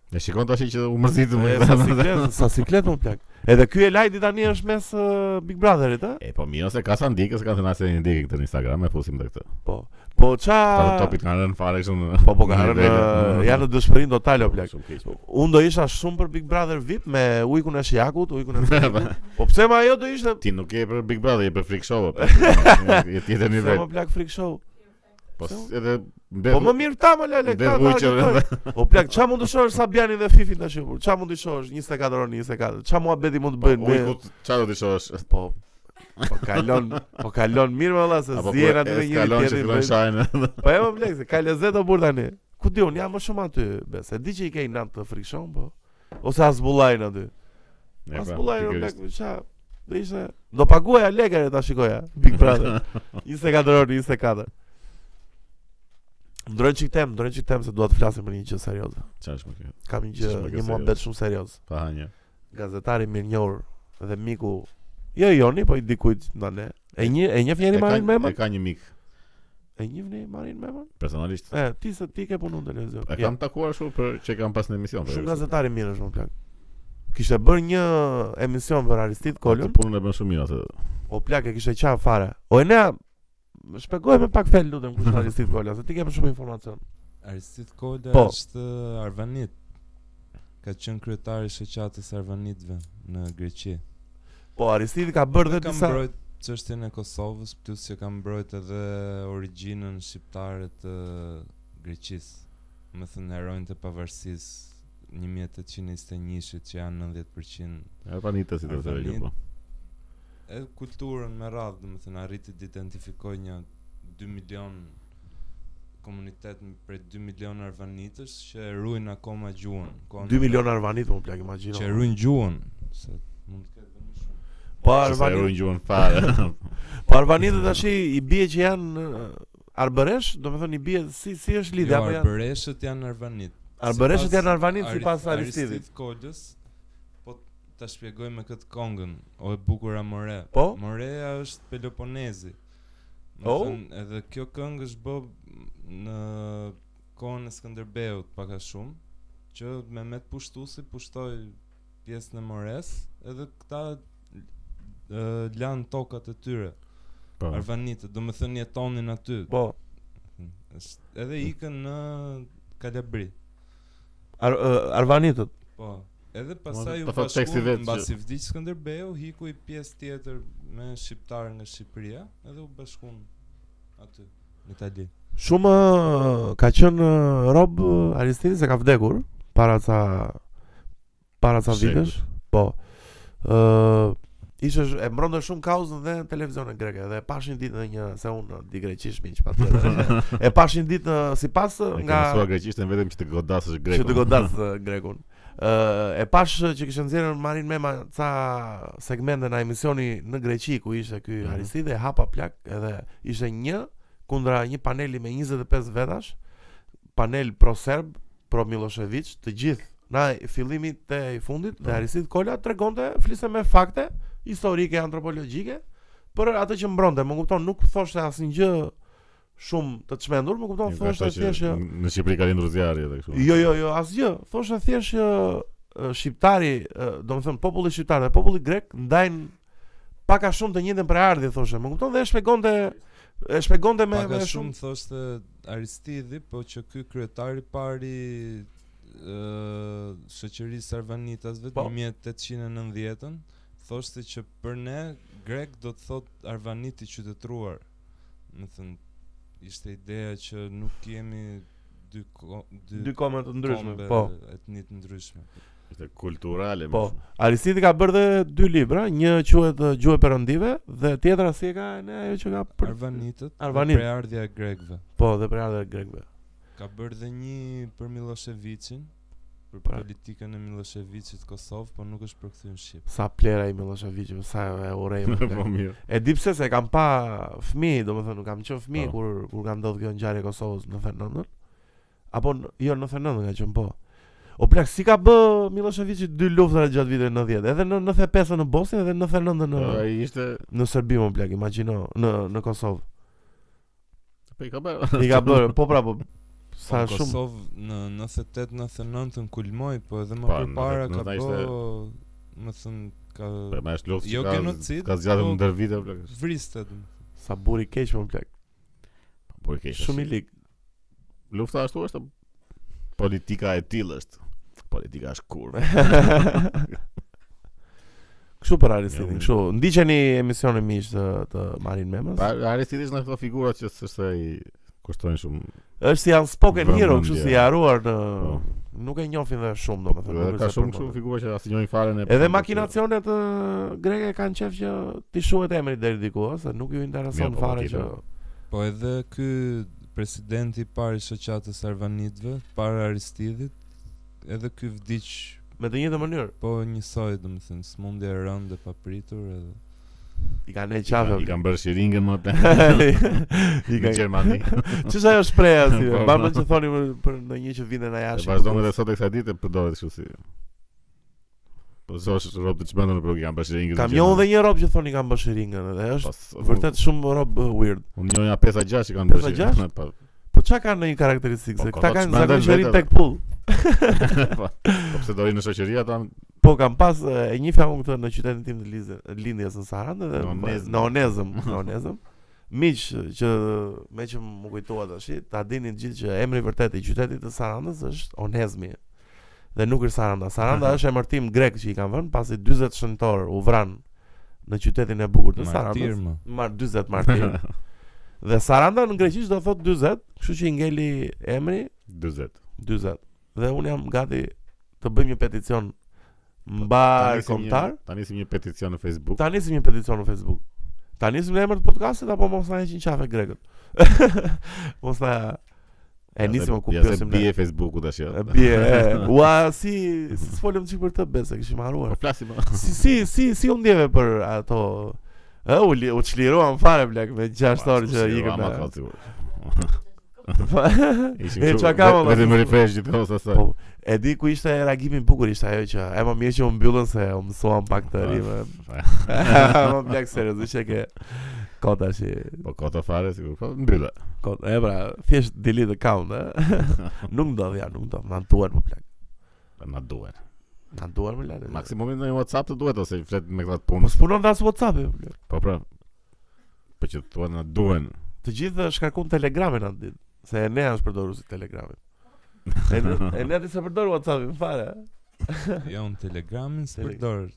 S2: Ne shikon tash që u mërzitëm.
S1: E, Sa siklet, sa siklet më plak. Edhe ky e lajti tani është mes ë, Big Brotherit, ë?
S2: *laughs* E po mirë se ka sa ndikës, ka thënë asë një ndikë këtë në Instagram, e fusim dhe këtë.
S1: Po. Po
S2: Ta të
S1: ça
S2: topit kanë rënë fare kështu në...
S1: Po po ka
S2: në
S1: rënë
S2: nivele.
S1: ë, janë në dëshpërim total o plak.
S2: Shumë keq, po.
S1: Unë do isha shumë për Big Brother VIP me ujkun e Shiakut, ujkun e
S2: *laughs*
S1: Shiakut. po pse ma ajo do ishte
S2: Ti nuk je për Big Brother, je për Freak Show,
S1: *laughs*
S2: po. Je tjetër
S1: Pse
S2: nivel.
S1: më plak freak show.
S2: Po
S1: pse-
S2: edhe
S1: Po më mirë ta më lale
S2: Dhe
S1: ka. ta
S2: vujqe,
S1: agitojnë. O plak, ç'a mund të shohësh Sabianin dhe Fifin tash kur? Ç'a mund të shohësh 24 orë në 24? Ç'a muhabeti mund të bëjnë? me-
S2: Ujku çfarë do të shohësh?
S1: Po Po kalon, po kalon mirë më valla se zjera aty dhe
S2: po, e
S1: njëri
S2: skalon që
S1: tjetrin.
S2: fillon
S1: bëjnë-
S2: shajnë. *laughs*
S1: Po e më plak, se ka lezet o burr tani. Ku di un jam më shumë aty, bes. E di që i ke nat të freak show, po. Ose as bullajn aty.
S2: Ja,
S1: As
S2: pra,
S1: bullajn o plak,
S2: pikërisht.
S1: ç'a do ishte do paguaja lekare ta shikoja Big
S2: *laughs*
S1: Brother. 24 orë 24. Ndrojnë çik tem, ndrojnë çik tem se dua të flasim për një gjë serioze.
S2: Çfarë është më kjo?
S1: Kam një
S2: Shumë
S1: gjë,
S2: e
S1: një
S2: serioze.
S1: muhabet shumë serioz.
S2: Pa hanje.
S1: Gazetari mirënjohur dhe miku Jo Joni, po i dikujt nga ne. E një e njeh njëri
S2: E ka-
S1: Marin Memën?
S2: E ka një mik
S1: E njeh njëri Marin Memën?
S2: personalisht.
S1: E, ti se ti ke punuar në televizion.
S2: E
S1: Ja.
S2: kam takuar shumë për që e kam pas në emision. për
S1: Jo. Shumë
S2: eksempel.
S1: gazetari mirë është më plak. Kishte bërë një emision për Aristit Kolën,
S2: Atë Punën e bën shumë mirë atë.
S1: o plak e kishte qaf fare. O Enea, më shpjegoj me pak fel lutem kush është Aristit Kola, se ti ke më shumë informacion.
S3: Arsit Kola
S1: Po.
S3: është uh, Arvanit. Ka qenë kryetari i shoqatës Arvanitëve në Greqi.
S1: Po Aristiti ka bërë dhe
S3: Ka
S1: disa
S3: mbrojt çështjen e Kosovës, plus që ka mbrojt edhe origjinën shqiptare të Greqisë. Më thënë heronjtë e pavarësisë 1821-shit që janë 90%
S2: E pa nitë si do të thotë
S3: Arvanit.
S2: po.
S3: e kulturën me radhë, do të thënë arriti të identifikoj një 2 milion komunitet në- prej 2 milion arvanitës që e ruajnë akoma gjuhën. kohën
S1: 2
S3: e
S1: milion arvanit më plak, imagjino.
S3: po, që e ruajnë gjuhën, se mund të ketë më shumë.
S1: Po
S2: Arvanit. Sa e
S1: arvanit,
S2: ruajnë gjuhën
S1: *laughs*
S2: fare.
S1: po arvanitët tash i bie që janë ë, arbëresh, domethënë i bie si si është lidhja
S3: Jo,
S1: apo janë
S3: arbëreshët janë arvanit.
S1: arbëreshët
S3: sipas
S1: janë arvanit
S3: Ari-
S1: sipas Aristitit.
S3: Aristit Kodës, po ta shpjegoj me këtë kongën, o e bukura More.
S1: Po?
S3: Morea është Peloponezi. Më
S1: Oh?
S3: thënë, edhe kjo këngë është bë në kohën e Skënderbeut pak a shumë, që Mehmet Pushtusi pushtoi pjesën e Mores, edhe këta ë, lanë tokat e tyre,
S2: Po.
S3: arvanitët, do më thënë jetonin aty.
S1: Po,
S3: Është- Edhe ikën në Kalabri.
S1: ar, ë, arvanitët.
S3: Po. Edhe pasaj u
S2: po thotë teksti
S3: bashkuan
S2: vetë
S3: mbasi vdiq Skënderbeu, hiku i pjesë tjetër me shqiptar nga Shqipëria, edhe u bashkuan aty në Itali.
S1: Shumë ë, ka qenë ë, rob ë, Aristidi se ka vdekur para ca para ca
S2: Shekut.
S1: vitesh. Po. Ë ishte sh- e mbronte shumë kauzën dhe në televizionin greke dhe e pashin ditë në një se unë di greqisht miq
S2: *laughs*
S1: patjetër. e pashin ditë ë, sipas ë,
S2: E
S1: nga
S2: kam mësuar greqishtën vetëm që të godasësh grekun.
S1: që të
S2: *laughs*
S1: godas ë, grekun. Ë e pash ë, që kishte nxjerrën Marin Mema ca segmente në emisioni në Greqi ku ishte ky
S2: Mhm.
S1: Aristide e hapa plak edhe ishte një kundra një paneli me 25 vetash, panel pro serb, pro Milošević, të gjithë na fillimi te i fundit dhe
S2: Po.
S1: Aristid Kola tregonte fliste me fakte historike antropologjike për atë që mbronte, më kupton, nuk thoshte asnjë gjë shumë të çmendur, më kupton,
S2: Një
S1: thoshte
S2: kështu që
S1: thjesht që
S2: Në Shqipëri ka lindur zjarri edhe kështu.
S1: Jo, jo, jo, asgjë. Thoshte thjesht që ë, shqiptari, ë, domethënë populli shqiptar dhe populli grek ndajnë pak a shumë të njëjtën përardhje thoshte. Më kupton dhe e shpjegonte e shpjegonte me
S3: Paka
S1: me
S3: shumë
S1: shumë
S3: thoshte Aristidi, po që ky kryetari pari ë shoqërisë Arvanitasve
S1: Po.
S3: po? 1890-ën thoshte që për ne grek do të thot Arvanit i qytetëruar. Më thënë ishte ideja që nuk jemi dy ko, dy,
S1: dy kome të ndryshme.
S3: kombe
S1: Po.
S3: etnik ndryshme.
S2: Ishte kulturale. më
S1: Po.
S2: shumë.
S1: Aristidi ka bërë dhe dy libra, një quhet ë, Gjuhë e Perëndive dhe tjetra si e ka ne ajo që ka për
S3: Arvanitët,
S1: Arvanit.
S3: preardhja e grekëve.
S1: po dhe përardhje e grekëve.
S3: Ka bërë dhe një për Miloševićin, për
S1: Pra.
S3: politikën e Miloševićit Kosovë, po nuk është përkthyer në Shqip.
S1: Sa plera i Milošević, sa e urrej.
S3: *laughs*
S1: më plak.
S2: *laughs* Po mirë.
S1: E di pse se kam pa fëmijë, domethënë kam qenë fëmijë
S2: Po.
S1: kur kur ka ndodhur kjo ngjarje e Kosovës në 99-ën. Apo në- jo në 99-ën ka qenë po. O plak si ka bë Miloševiçi dy luftra gjatë viteve 90, edhe në 95-ën në Bosnjë dhe në 99-ën në
S2: Po, Ai ishte
S1: në Serbi më plak, imagjino në në
S2: *laughs*
S1: Kosovë.
S2: Po i ka
S1: *laughs*
S2: bërë.
S1: I ka bërë, po pra po sa
S3: Sa po,
S1: shumë
S3: Kosovë në 98-99 kulmoi, po edhe më
S2: Pa,
S3: përpara
S2: në-
S3: ka
S2: në-
S3: bë,
S2: ishte-
S3: më thënë ka
S2: Po më është luftë.
S3: Jo
S2: që ka-
S3: genocid,
S2: Ka zgjatur
S3: po-
S2: ndër vite plak.
S3: vriste dëmë.
S1: sa buri keq më plak.
S2: Po i keq.
S1: Shumë i lig. *laughs*
S2: Lufta ashtu është. po, Politika e tillë është. Politika është kurve.
S1: Kështu për Aristidin,
S2: Ja,
S1: kështu. Ndiqeni emisionin miq të, të Marin Memës.
S2: Pa Aristidi është në këto figura që s'është ai kushtojnë shumë.
S1: Është si janë spoken hero,
S2: Vëmendje.
S1: kështu si i haruar në
S2: Po.
S1: nuk e njohin dhe shumë domethënë.
S2: Edhe
S1: nuk
S2: ka
S1: është se
S2: shumë
S1: përmendën.
S2: shumë figura që asnjë njëjë fare në.
S1: Edhe makinacionet ë, greke kanë qef që ti shuhet emri deri diku, ëh, se nuk ju intereson
S2: Mirë, po,
S1: fare që
S2: patjetër.
S3: Po edhe ky presidenti i parë i shoqatës Arvanitëve, para Aristidit, edhe ky vdiq
S1: me të njëjtën mënyrë
S3: po njësoj domethënë smundje e rëndë e papritur edhe
S1: i kanë e
S2: Qafe.
S1: qafë.
S2: I
S1: *laughs*
S2: kanë bërë shiringën më plan.
S1: I
S2: *laughs* Në
S1: *laughs*
S2: Gjermani.
S1: Ç'është ajo
S2: *laughs*
S1: shpreha si?
S2: Po,
S1: Mbarmën
S2: po.
S1: që thoni për, për ndonjë që vjen nga
S2: E
S1: jashtë.
S2: vazhdon edhe sot e kësaj ditë e përdoret kështu si. Po zosh rob të çmendën për i kanë bërë shiringën. në
S1: Kamion
S2: Gjermani. Po,
S1: dhe një rob që thoni kanë bëshë ringën, edhe është
S2: Pas-
S1: vërtet shumë rob ë, weird.
S2: Unë njoja 5 a 6 që kanë bërë.
S1: 5 a
S2: shiringën,
S1: gjashtë?
S2: *laughs* Po.
S1: Po çka kanë ndonjë karakteristikë?
S2: Po,
S1: Se
S2: ka
S1: këta
S2: të
S1: kanë
S2: çmendën
S1: zakonisht
S2: vetë,
S1: rrinë tek pull.
S2: Po po pse do rinë në shoqëri ata?
S1: Po kam pas e e njihja unë këtë në qytetin tim të Lizë- lindjes në Sarandë dhe
S2: Në Onezëm.
S1: në
S2: *laughs*
S1: Onezëm, në Onezëm. Miq që me që më kujtoa tash, ta dini të gjithë që emri vërtet i qytetit të Sarandës është Onezmi. Dhe nuk është Saranda.
S2: *laughs*
S1: Saranda është emërtim grek që i kanë vënë pasi 40 shëntor u vran në qytetin e bukur të
S3: martir
S1: Sarandës.
S3: më.
S1: Mar 40
S2: *laughs*
S1: martir. dhe Saranda në greqisht do thot 40, kështu që i ngeli emri
S2: 40.
S1: 40. Dhe un jam gati të bëjmë një peticion mbar kombëtar.
S2: Ta nisim një peticion në Facebook.
S1: Ta nisim një peticion në Facebook. Ta nisim në emër të podcastit apo mos na heqin qafe grekët. *laughs* mos na e nisim ku
S2: Ja se
S1: pyesim
S2: Bie
S1: ne.
S2: Facebooku tash. ja.
S1: E Bie. e,
S2: *laughs*
S1: Ua si si folëm çik për këtë besë, kishim
S2: Po
S1: harruar.
S2: flasim. o.
S1: Si si si si u ndjeve për ato Ë, u, li- u çliruam fare blek me 6 orë që
S2: Si,
S1: ikëm.
S2: ama
S1: na- *laughs*
S2: ka sigur.
S1: Ishim
S2: Ishim
S1: e
S2: kështu,
S1: çka kam
S2: ve-
S1: ama.
S2: Vetëm refresh gjithmonë sa sa.
S1: Po, e di ku ishte reagimi i bukur ishte ajo që e më mirë që u mbyllën se u mësuam pak të
S2: Pa,
S1: rime.
S2: pa.
S1: *laughs* më plak seriozisht që ke kod tash. i-
S2: Po kota fare sigur. Po mbyllë.
S1: Kod, e pra, thjesht delete account, e.
S2: *laughs*
S1: nuk ndodh ja, nuk ndodh. Na duan më plak.
S2: Po, Na duhet.
S1: Na duan më lart.
S2: Maksimumi në WhatsApp të duhet ose flet me këtë
S1: Po
S2: punë.
S1: s'punon as WhatsApp-i. më plak.
S2: Po pra. Po që thua na duhen.
S1: Të gjithë shkarkun Telegramin atë ditë, se e nea është përdoruesi i Telegramit. E ne- e ne ti se përdor WhatsApp-in fare.
S3: Jo, në Telegramin së
S1: Tele-
S3: përdor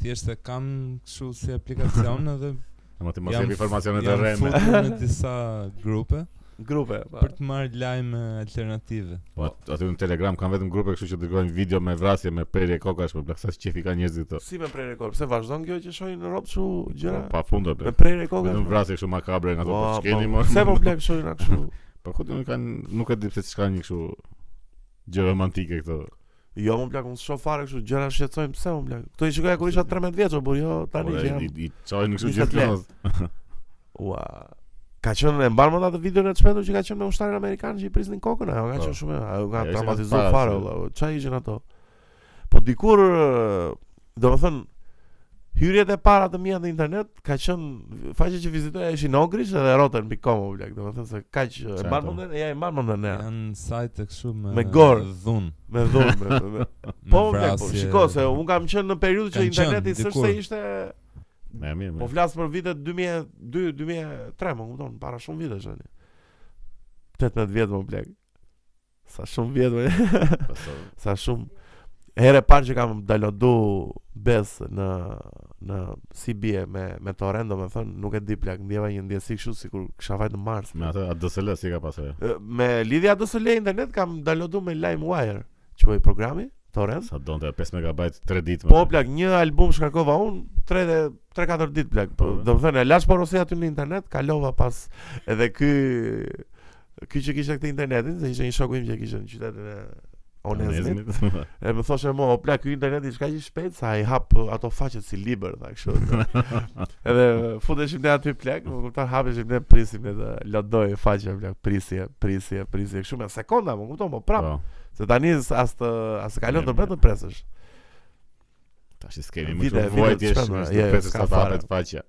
S3: Thjesht e kam kështu si
S1: *laughs*
S3: aplikacion edhe
S2: Ama ti mos
S3: jam
S2: jep informacione të
S3: jam
S2: rreme.
S3: futur në disa grupe
S1: Grupe. pa.
S3: për të marrë lajme alternative.
S2: Po at- aty në Telegram kanë vetëm grupe kështu që dërgojnë video me vrasje me prerje kokash për plaksa qefi ka njerëzit këto.
S1: Si me prej rekord, pse vazhdon kjo që shohin në rob çu gjëra?
S2: Po, Pa fundo
S1: Me
S2: plak.
S1: prej rekord.
S2: Vetëm vrasje kështu makabre nga ato po
S1: Po,
S2: çkeni
S1: po,
S2: më.
S1: Pse po blek shohin na kështu?
S2: *laughs* Po ku do kanë nuk e di pse çka një kështu gjë romantike këto.
S1: Jo, më blek, unë shoh fare kështu gjëra shqetësojnë, pse më blek? Kto i shikoja kur isha 13 vjeç, por jo tani
S2: Po,
S1: që
S2: e,
S1: jam.
S2: i- i çojnë kështu
S1: 20
S2: gjithmonë.
S1: Ua. Ka qenë e mban mend atë videon e çmendur që ka qenë me ushtarin amerikan që i prisnin kokën, ajo ka
S2: Po.
S1: qenë shumë, ajo ka
S2: Ajo ishte
S1: traumatizuar
S2: para,
S1: fare
S2: se-
S1: valla. o, Çfarë ishin ato? Po dikur, domethënë, Hyrjet e para të mia në internet ka qenë faqja që vizitoja ishin ogrish edhe roten.com u blaq, domethënë se kaq e
S2: Qartë.
S1: mban mendën, ja e mban mendën ne.
S3: Janë sajte kështu me
S1: Me gorë.
S3: dhun.
S1: Me dhunë. me- me- Po,
S3: me
S1: blaq, po,
S3: vrasje.
S1: shiko se un kam qenë në periudhë që
S3: Kam qenë,
S1: interneti s'është
S3: dikur.
S1: se ishte
S2: Ne mirë.
S1: Po
S2: mirë.
S1: flas për vitet 2002, 2003, më kupton, para shumë vitesh tani. 18 vjet më blek. Sa shumë vjet më. *laughs*
S2: Pastaj
S1: sa shumë herë e parë që kam dalodu bes në në si bie me me torrent, domethënë nuk e di plak, ndjeva një ndjesi kështu sikur kisha vajt në Mars.
S2: me atë ADSL si ka pasur.
S1: Ë, me lidhja DSL internet kam dalodu me LimeWire, quaj po programi, torrent.
S2: Sa donte 5 MB 3 ditë.
S1: Po plak, një album shkarkova un 3 dhe 3-4 ditë plak. Po,
S2: Po.
S1: do të thënë, e lash porosia aty në internet, kalova pas edhe ky ky që kishte këtë internetin, se ishte një shoku im që kishte në qytetin e Onezmit.
S2: *laughs* Po,
S1: E më thoshe mo, o plak, ky interneti është kaq i shpejt sa i hap uh, ato faqet si liber, tha
S2: *laughs*
S1: kështu. Edhe futeshim ne aty plak, më kupton, hapeshim ne prisim ne të lodoj faqe plak, prisje, prisje, prisje, kështu me sekonda, më kupton, po prap.
S2: Po.
S1: Se tani s- as të as të kalon
S2: Mirë,
S1: të bëhet
S2: mirë.
S1: të presësh.
S2: Tash i skemi më
S1: Vite,
S2: të
S1: vite
S2: vuajtje
S1: të
S2: është
S1: shpendura,
S2: më
S1: je,
S2: të pesë
S1: s'ka
S2: sa
S1: fare.
S2: tapet faqja.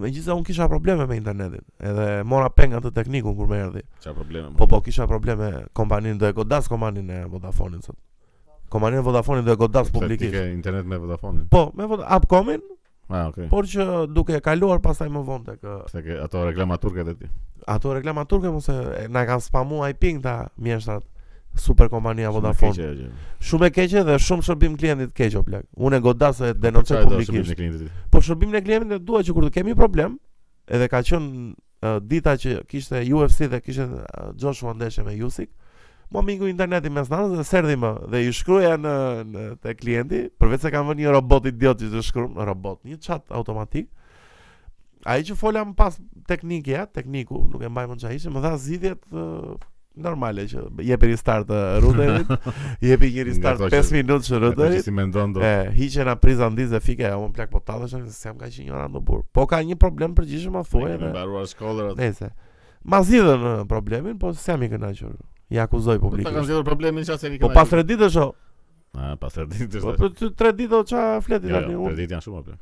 S1: Megjithëse un kisha probleme me internetin, edhe mora penga të teknikun kur më erdhi.
S2: Çfarë probleme? më
S1: Po po
S2: ke?
S1: kisha probleme kompaninë do e godas kompaninë e Vodafonit sot. Kompaninë e Vodafonit do e godas
S2: Pse Ti
S1: publikisht.
S2: ke internet me Vodafone.
S1: Po, me Voda- Upcomin,
S2: Ah, okay.
S1: por që duke e kaluar pastaj më vonë tek uh,
S2: Pse ke ato reklama turke të ti.
S1: ato reklama turke mos e na kanë spamu IP këta mjeshtrat super kompania Vodafone. Shumë e keqe dhe shumë shërbim klientit keq o plak. Unë e godas
S2: Po,
S1: e denoncoj publikisht.
S2: publikisht.
S1: Po shërbimin e klientit e dua që kur të kemi problem, edhe ka qenë uh, dita që kishte UFC dhe kishte uh, Joshua ndeshje me Usyk. Më mingu interneti mes natës dhe serdhi më dhe i shkruaja në, në te klienti, përveç se kam vënë një robot idiot që të shkruan robot, një chat automatik. Ai që fola më pas teknikja, tekniku, nuk e mbaj më çfarë ishte, më dha zgjidhjet uh, normale që jepi restart uh, routerit, jepi një restart
S2: ato që-
S1: 5 minutë që routerit.
S2: Si mendon do.
S1: E, hiqen a priza ndizë dhe fike, ja, unë plak po tallesh, se jam ka që njëra në burë. Po ka një problem përgjishëm a
S2: Ne
S1: thuaj
S2: kemi
S1: edhe,
S2: mbaruar shkollën.
S1: nese. Ma zidhen e, problemin, po se jam i kënaqur. Ja akuzoj
S2: Po ta kanë
S1: publikisht.
S2: zgjedhur problemin çfarë se i
S1: Po
S2: kanë.
S1: pas tre ditë është, o.
S2: Ah, pas tre ditë.
S1: po
S2: është.
S1: për ty tre ditë o qa fleti
S2: Jo,
S1: tani,
S2: jo,
S1: unë
S2: tre ditë janë shumë apo.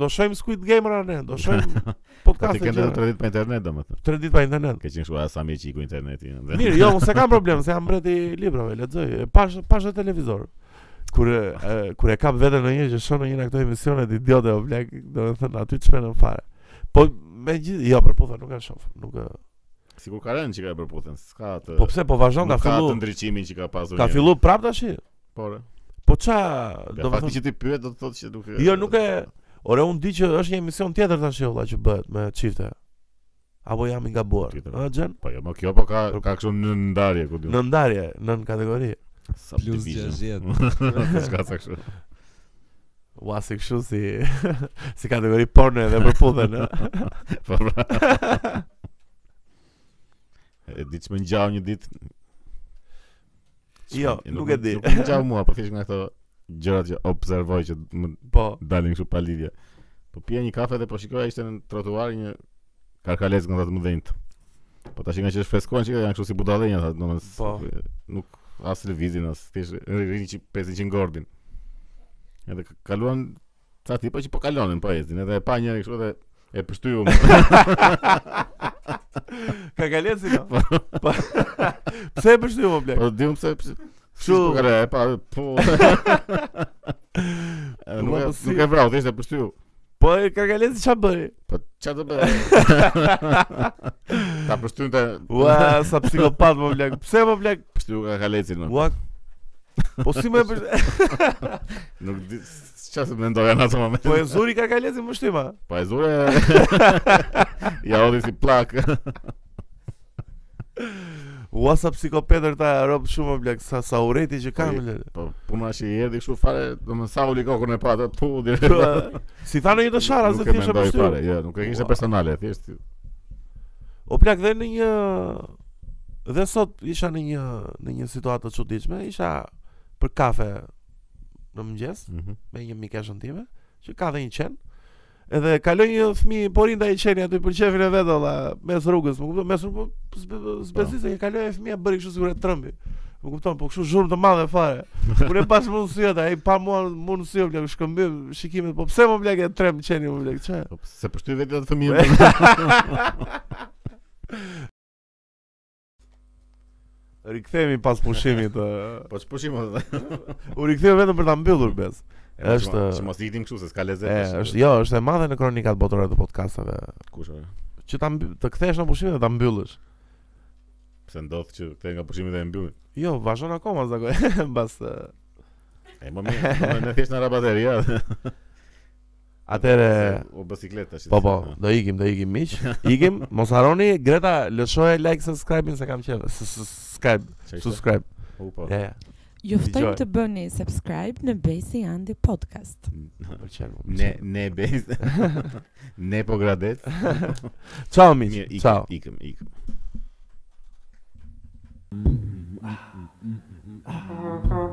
S1: do shojmë Squid Gamer a ne, do
S2: *laughs*
S1: shojmë
S2: Po ti
S1: podcastin
S2: kanë
S1: që
S2: dhënë tre ditë pa internet domethënë.
S1: tre ditë pa internet.
S2: Ke qenë kështu a sa mirë që iku interneti. ëh, dhe-
S1: Mirë, jo, unë se kam problem, se jam mbreti i librave, lexoj, e, pash pash e televizor. Kur e, e, kur e kap veten në një që shon në një nga këto emisionet idiote o blek, domethënë aty çmenën fare. Po me gjithë, jo, për putha nuk e shoh, nuk e.
S2: Sigur ka rënë që ka e përputhen. S'ka atë.
S1: Po pse po vazhdon ka
S2: nuk ka atë jo.
S1: fillu?
S2: ndriçimin që ka pasur.
S1: Ka
S2: njëri.
S1: fillu prap tash?
S2: Por.
S1: Po ça,
S2: Ka fakti
S1: domethënë
S2: që ti pyet do të thotë që nuk e-
S1: Jo, nuk e- Ore, unë di që është një emision tjetër tash olla që bëhet me çifte. Apo jam i gabuar.
S2: Tjetër. Jo.
S1: Ë, Xhen?
S2: Po jo, më kjo po ka ka kështu në ndarje ku diun.
S1: Në ndarje, nën kategori.
S3: Plus
S2: *laughs*
S3: 60.
S2: S'ka sa kështu.
S1: Ua, si kështu si *laughs* si kategori porno edhe për puthen,
S2: *laughs*
S1: ë.
S2: Po pra.
S1: *laughs*
S2: E ditë që më ngjau një ditë.
S1: Jo,
S2: Që-
S1: nuk e di.
S2: Nuk më ngjau mua, po thjesht nga këto gjërat që observoj që më
S1: Po,
S2: dalin kështu pa lidhje. Po pija një kafe dhe po shikoja ishte në trotuar një karkalec nga të mëdhenjt. Po tash nga që është freskohen që janë kështu si budallenja, tha, domethënë
S1: Po.
S2: s- nuk as lëvizin as thjesht rrini që pesin që ngordin. Edhe ka- kaluan ca tipa që po kalonin po ecin, edhe e pa njëri kështu dhe
S1: *laughs*
S2: e pështyu
S1: ka kaleci no. Po. Pse e pështu më blek?
S2: Po di unë pse pse-
S1: Kështu.
S2: po kare, e pa
S1: *laughs*
S2: po. Edhe nuk
S1: Ua,
S2: e-
S1: po si-
S2: nuk e vrau, thjesht e pështyu.
S1: Po e ka kaleci ç'a bëri?
S2: Po ç'a do
S1: *laughs*
S2: bëj? Ta pështyonte.
S1: Ua, sa psikopat më blek. Pse më blek?
S2: Pështyu ka kalecin. më.
S1: Ua. Po si më e pështu?
S2: Nuk di çfarë se mendoja në atë moment.
S1: Po e zuri ka kaleci më shtyma.
S2: Po e zure.
S1: *laughs*
S2: ja odi si plak.
S1: Ua sa psikopetër ta rob shumë më blek sa sa ureti që ka
S2: Po,
S1: më blek.
S2: Po puna që i erdhi kështu fare, domethënë sa uli kokën e pa atë pu direkt.
S1: Ua, Si tha në një të Po, shara se
S2: Nuk e
S1: thjesht e
S2: mendoj
S1: pështu.
S2: fare, jo, nuk e kishte
S1: Ua.
S2: personale, thjesht.
S1: O plak dhe në një dhe sot isha në një në një situatë të çuditshme, isha për kafe në mëngjes
S2: Mhm.
S1: me një mikeshën time që ka dhe një qen. Edhe kaloi një fëmijë porinda i qeni aty për qefin e vet olla mes rrugës, më kupton? Mes rrugës, po, s'be- s'besi se kaloi e fëmia bëri kështu sikur e trëmbi. Më kupton, po kështu zhurmë të madhe fare. Kur e pas mundësia ta, ai pa mua mundësi bla shkëmbim shikimet, po pse më bla e trem qeni më bla çe?
S2: Po, Se përshtyj vetë atë fëmijën.
S1: Rikthehemi pas pushimit. ë.
S2: *laughs* Po ç'pushim
S1: *laughs*
S2: atë.
S1: U riktheu vetëm për ta mbyllur bes. Është-
S2: që mos i hitim kështu se s'ka
S1: E,
S2: lezet.
S1: është jo, është e madhe në kronikat botërore të podcasteve.
S2: kush ore?
S1: Që ta mby- të kthesh në pushim dhe ta mbyllësh.
S2: Pse ndodh që kthej nga pushimi dhe e mbyll.
S1: Jo, vazhdon akoma zakoj *laughs* mbas. ë.
S2: E më
S1: *laughs*
S2: mirë, më- ne thjesht në rabateria. *laughs*
S1: Atëre
S2: o bicikletë tash.
S1: Po po, do ikim, do ikim miq. Ikim, mos harroni Greta, lëshoje like, subscribe-in se kam qenë. Subscribe,
S2: Çfarë?
S1: subscribe.
S2: U po.
S1: Ja, ja.
S4: Ju
S1: Dëgjoj.
S4: ftojmë të bëni subscribe në Besi Andi Podcast.
S1: Më
S2: Mm.
S1: pëlqen. më
S2: Ne
S1: pëlqen.
S2: ne bez. ne po gradet.
S1: Ciao
S2: Mirë,
S1: miq.
S2: ikëm,
S1: Ciao.
S2: ikëm, ikëm.
S6: Thank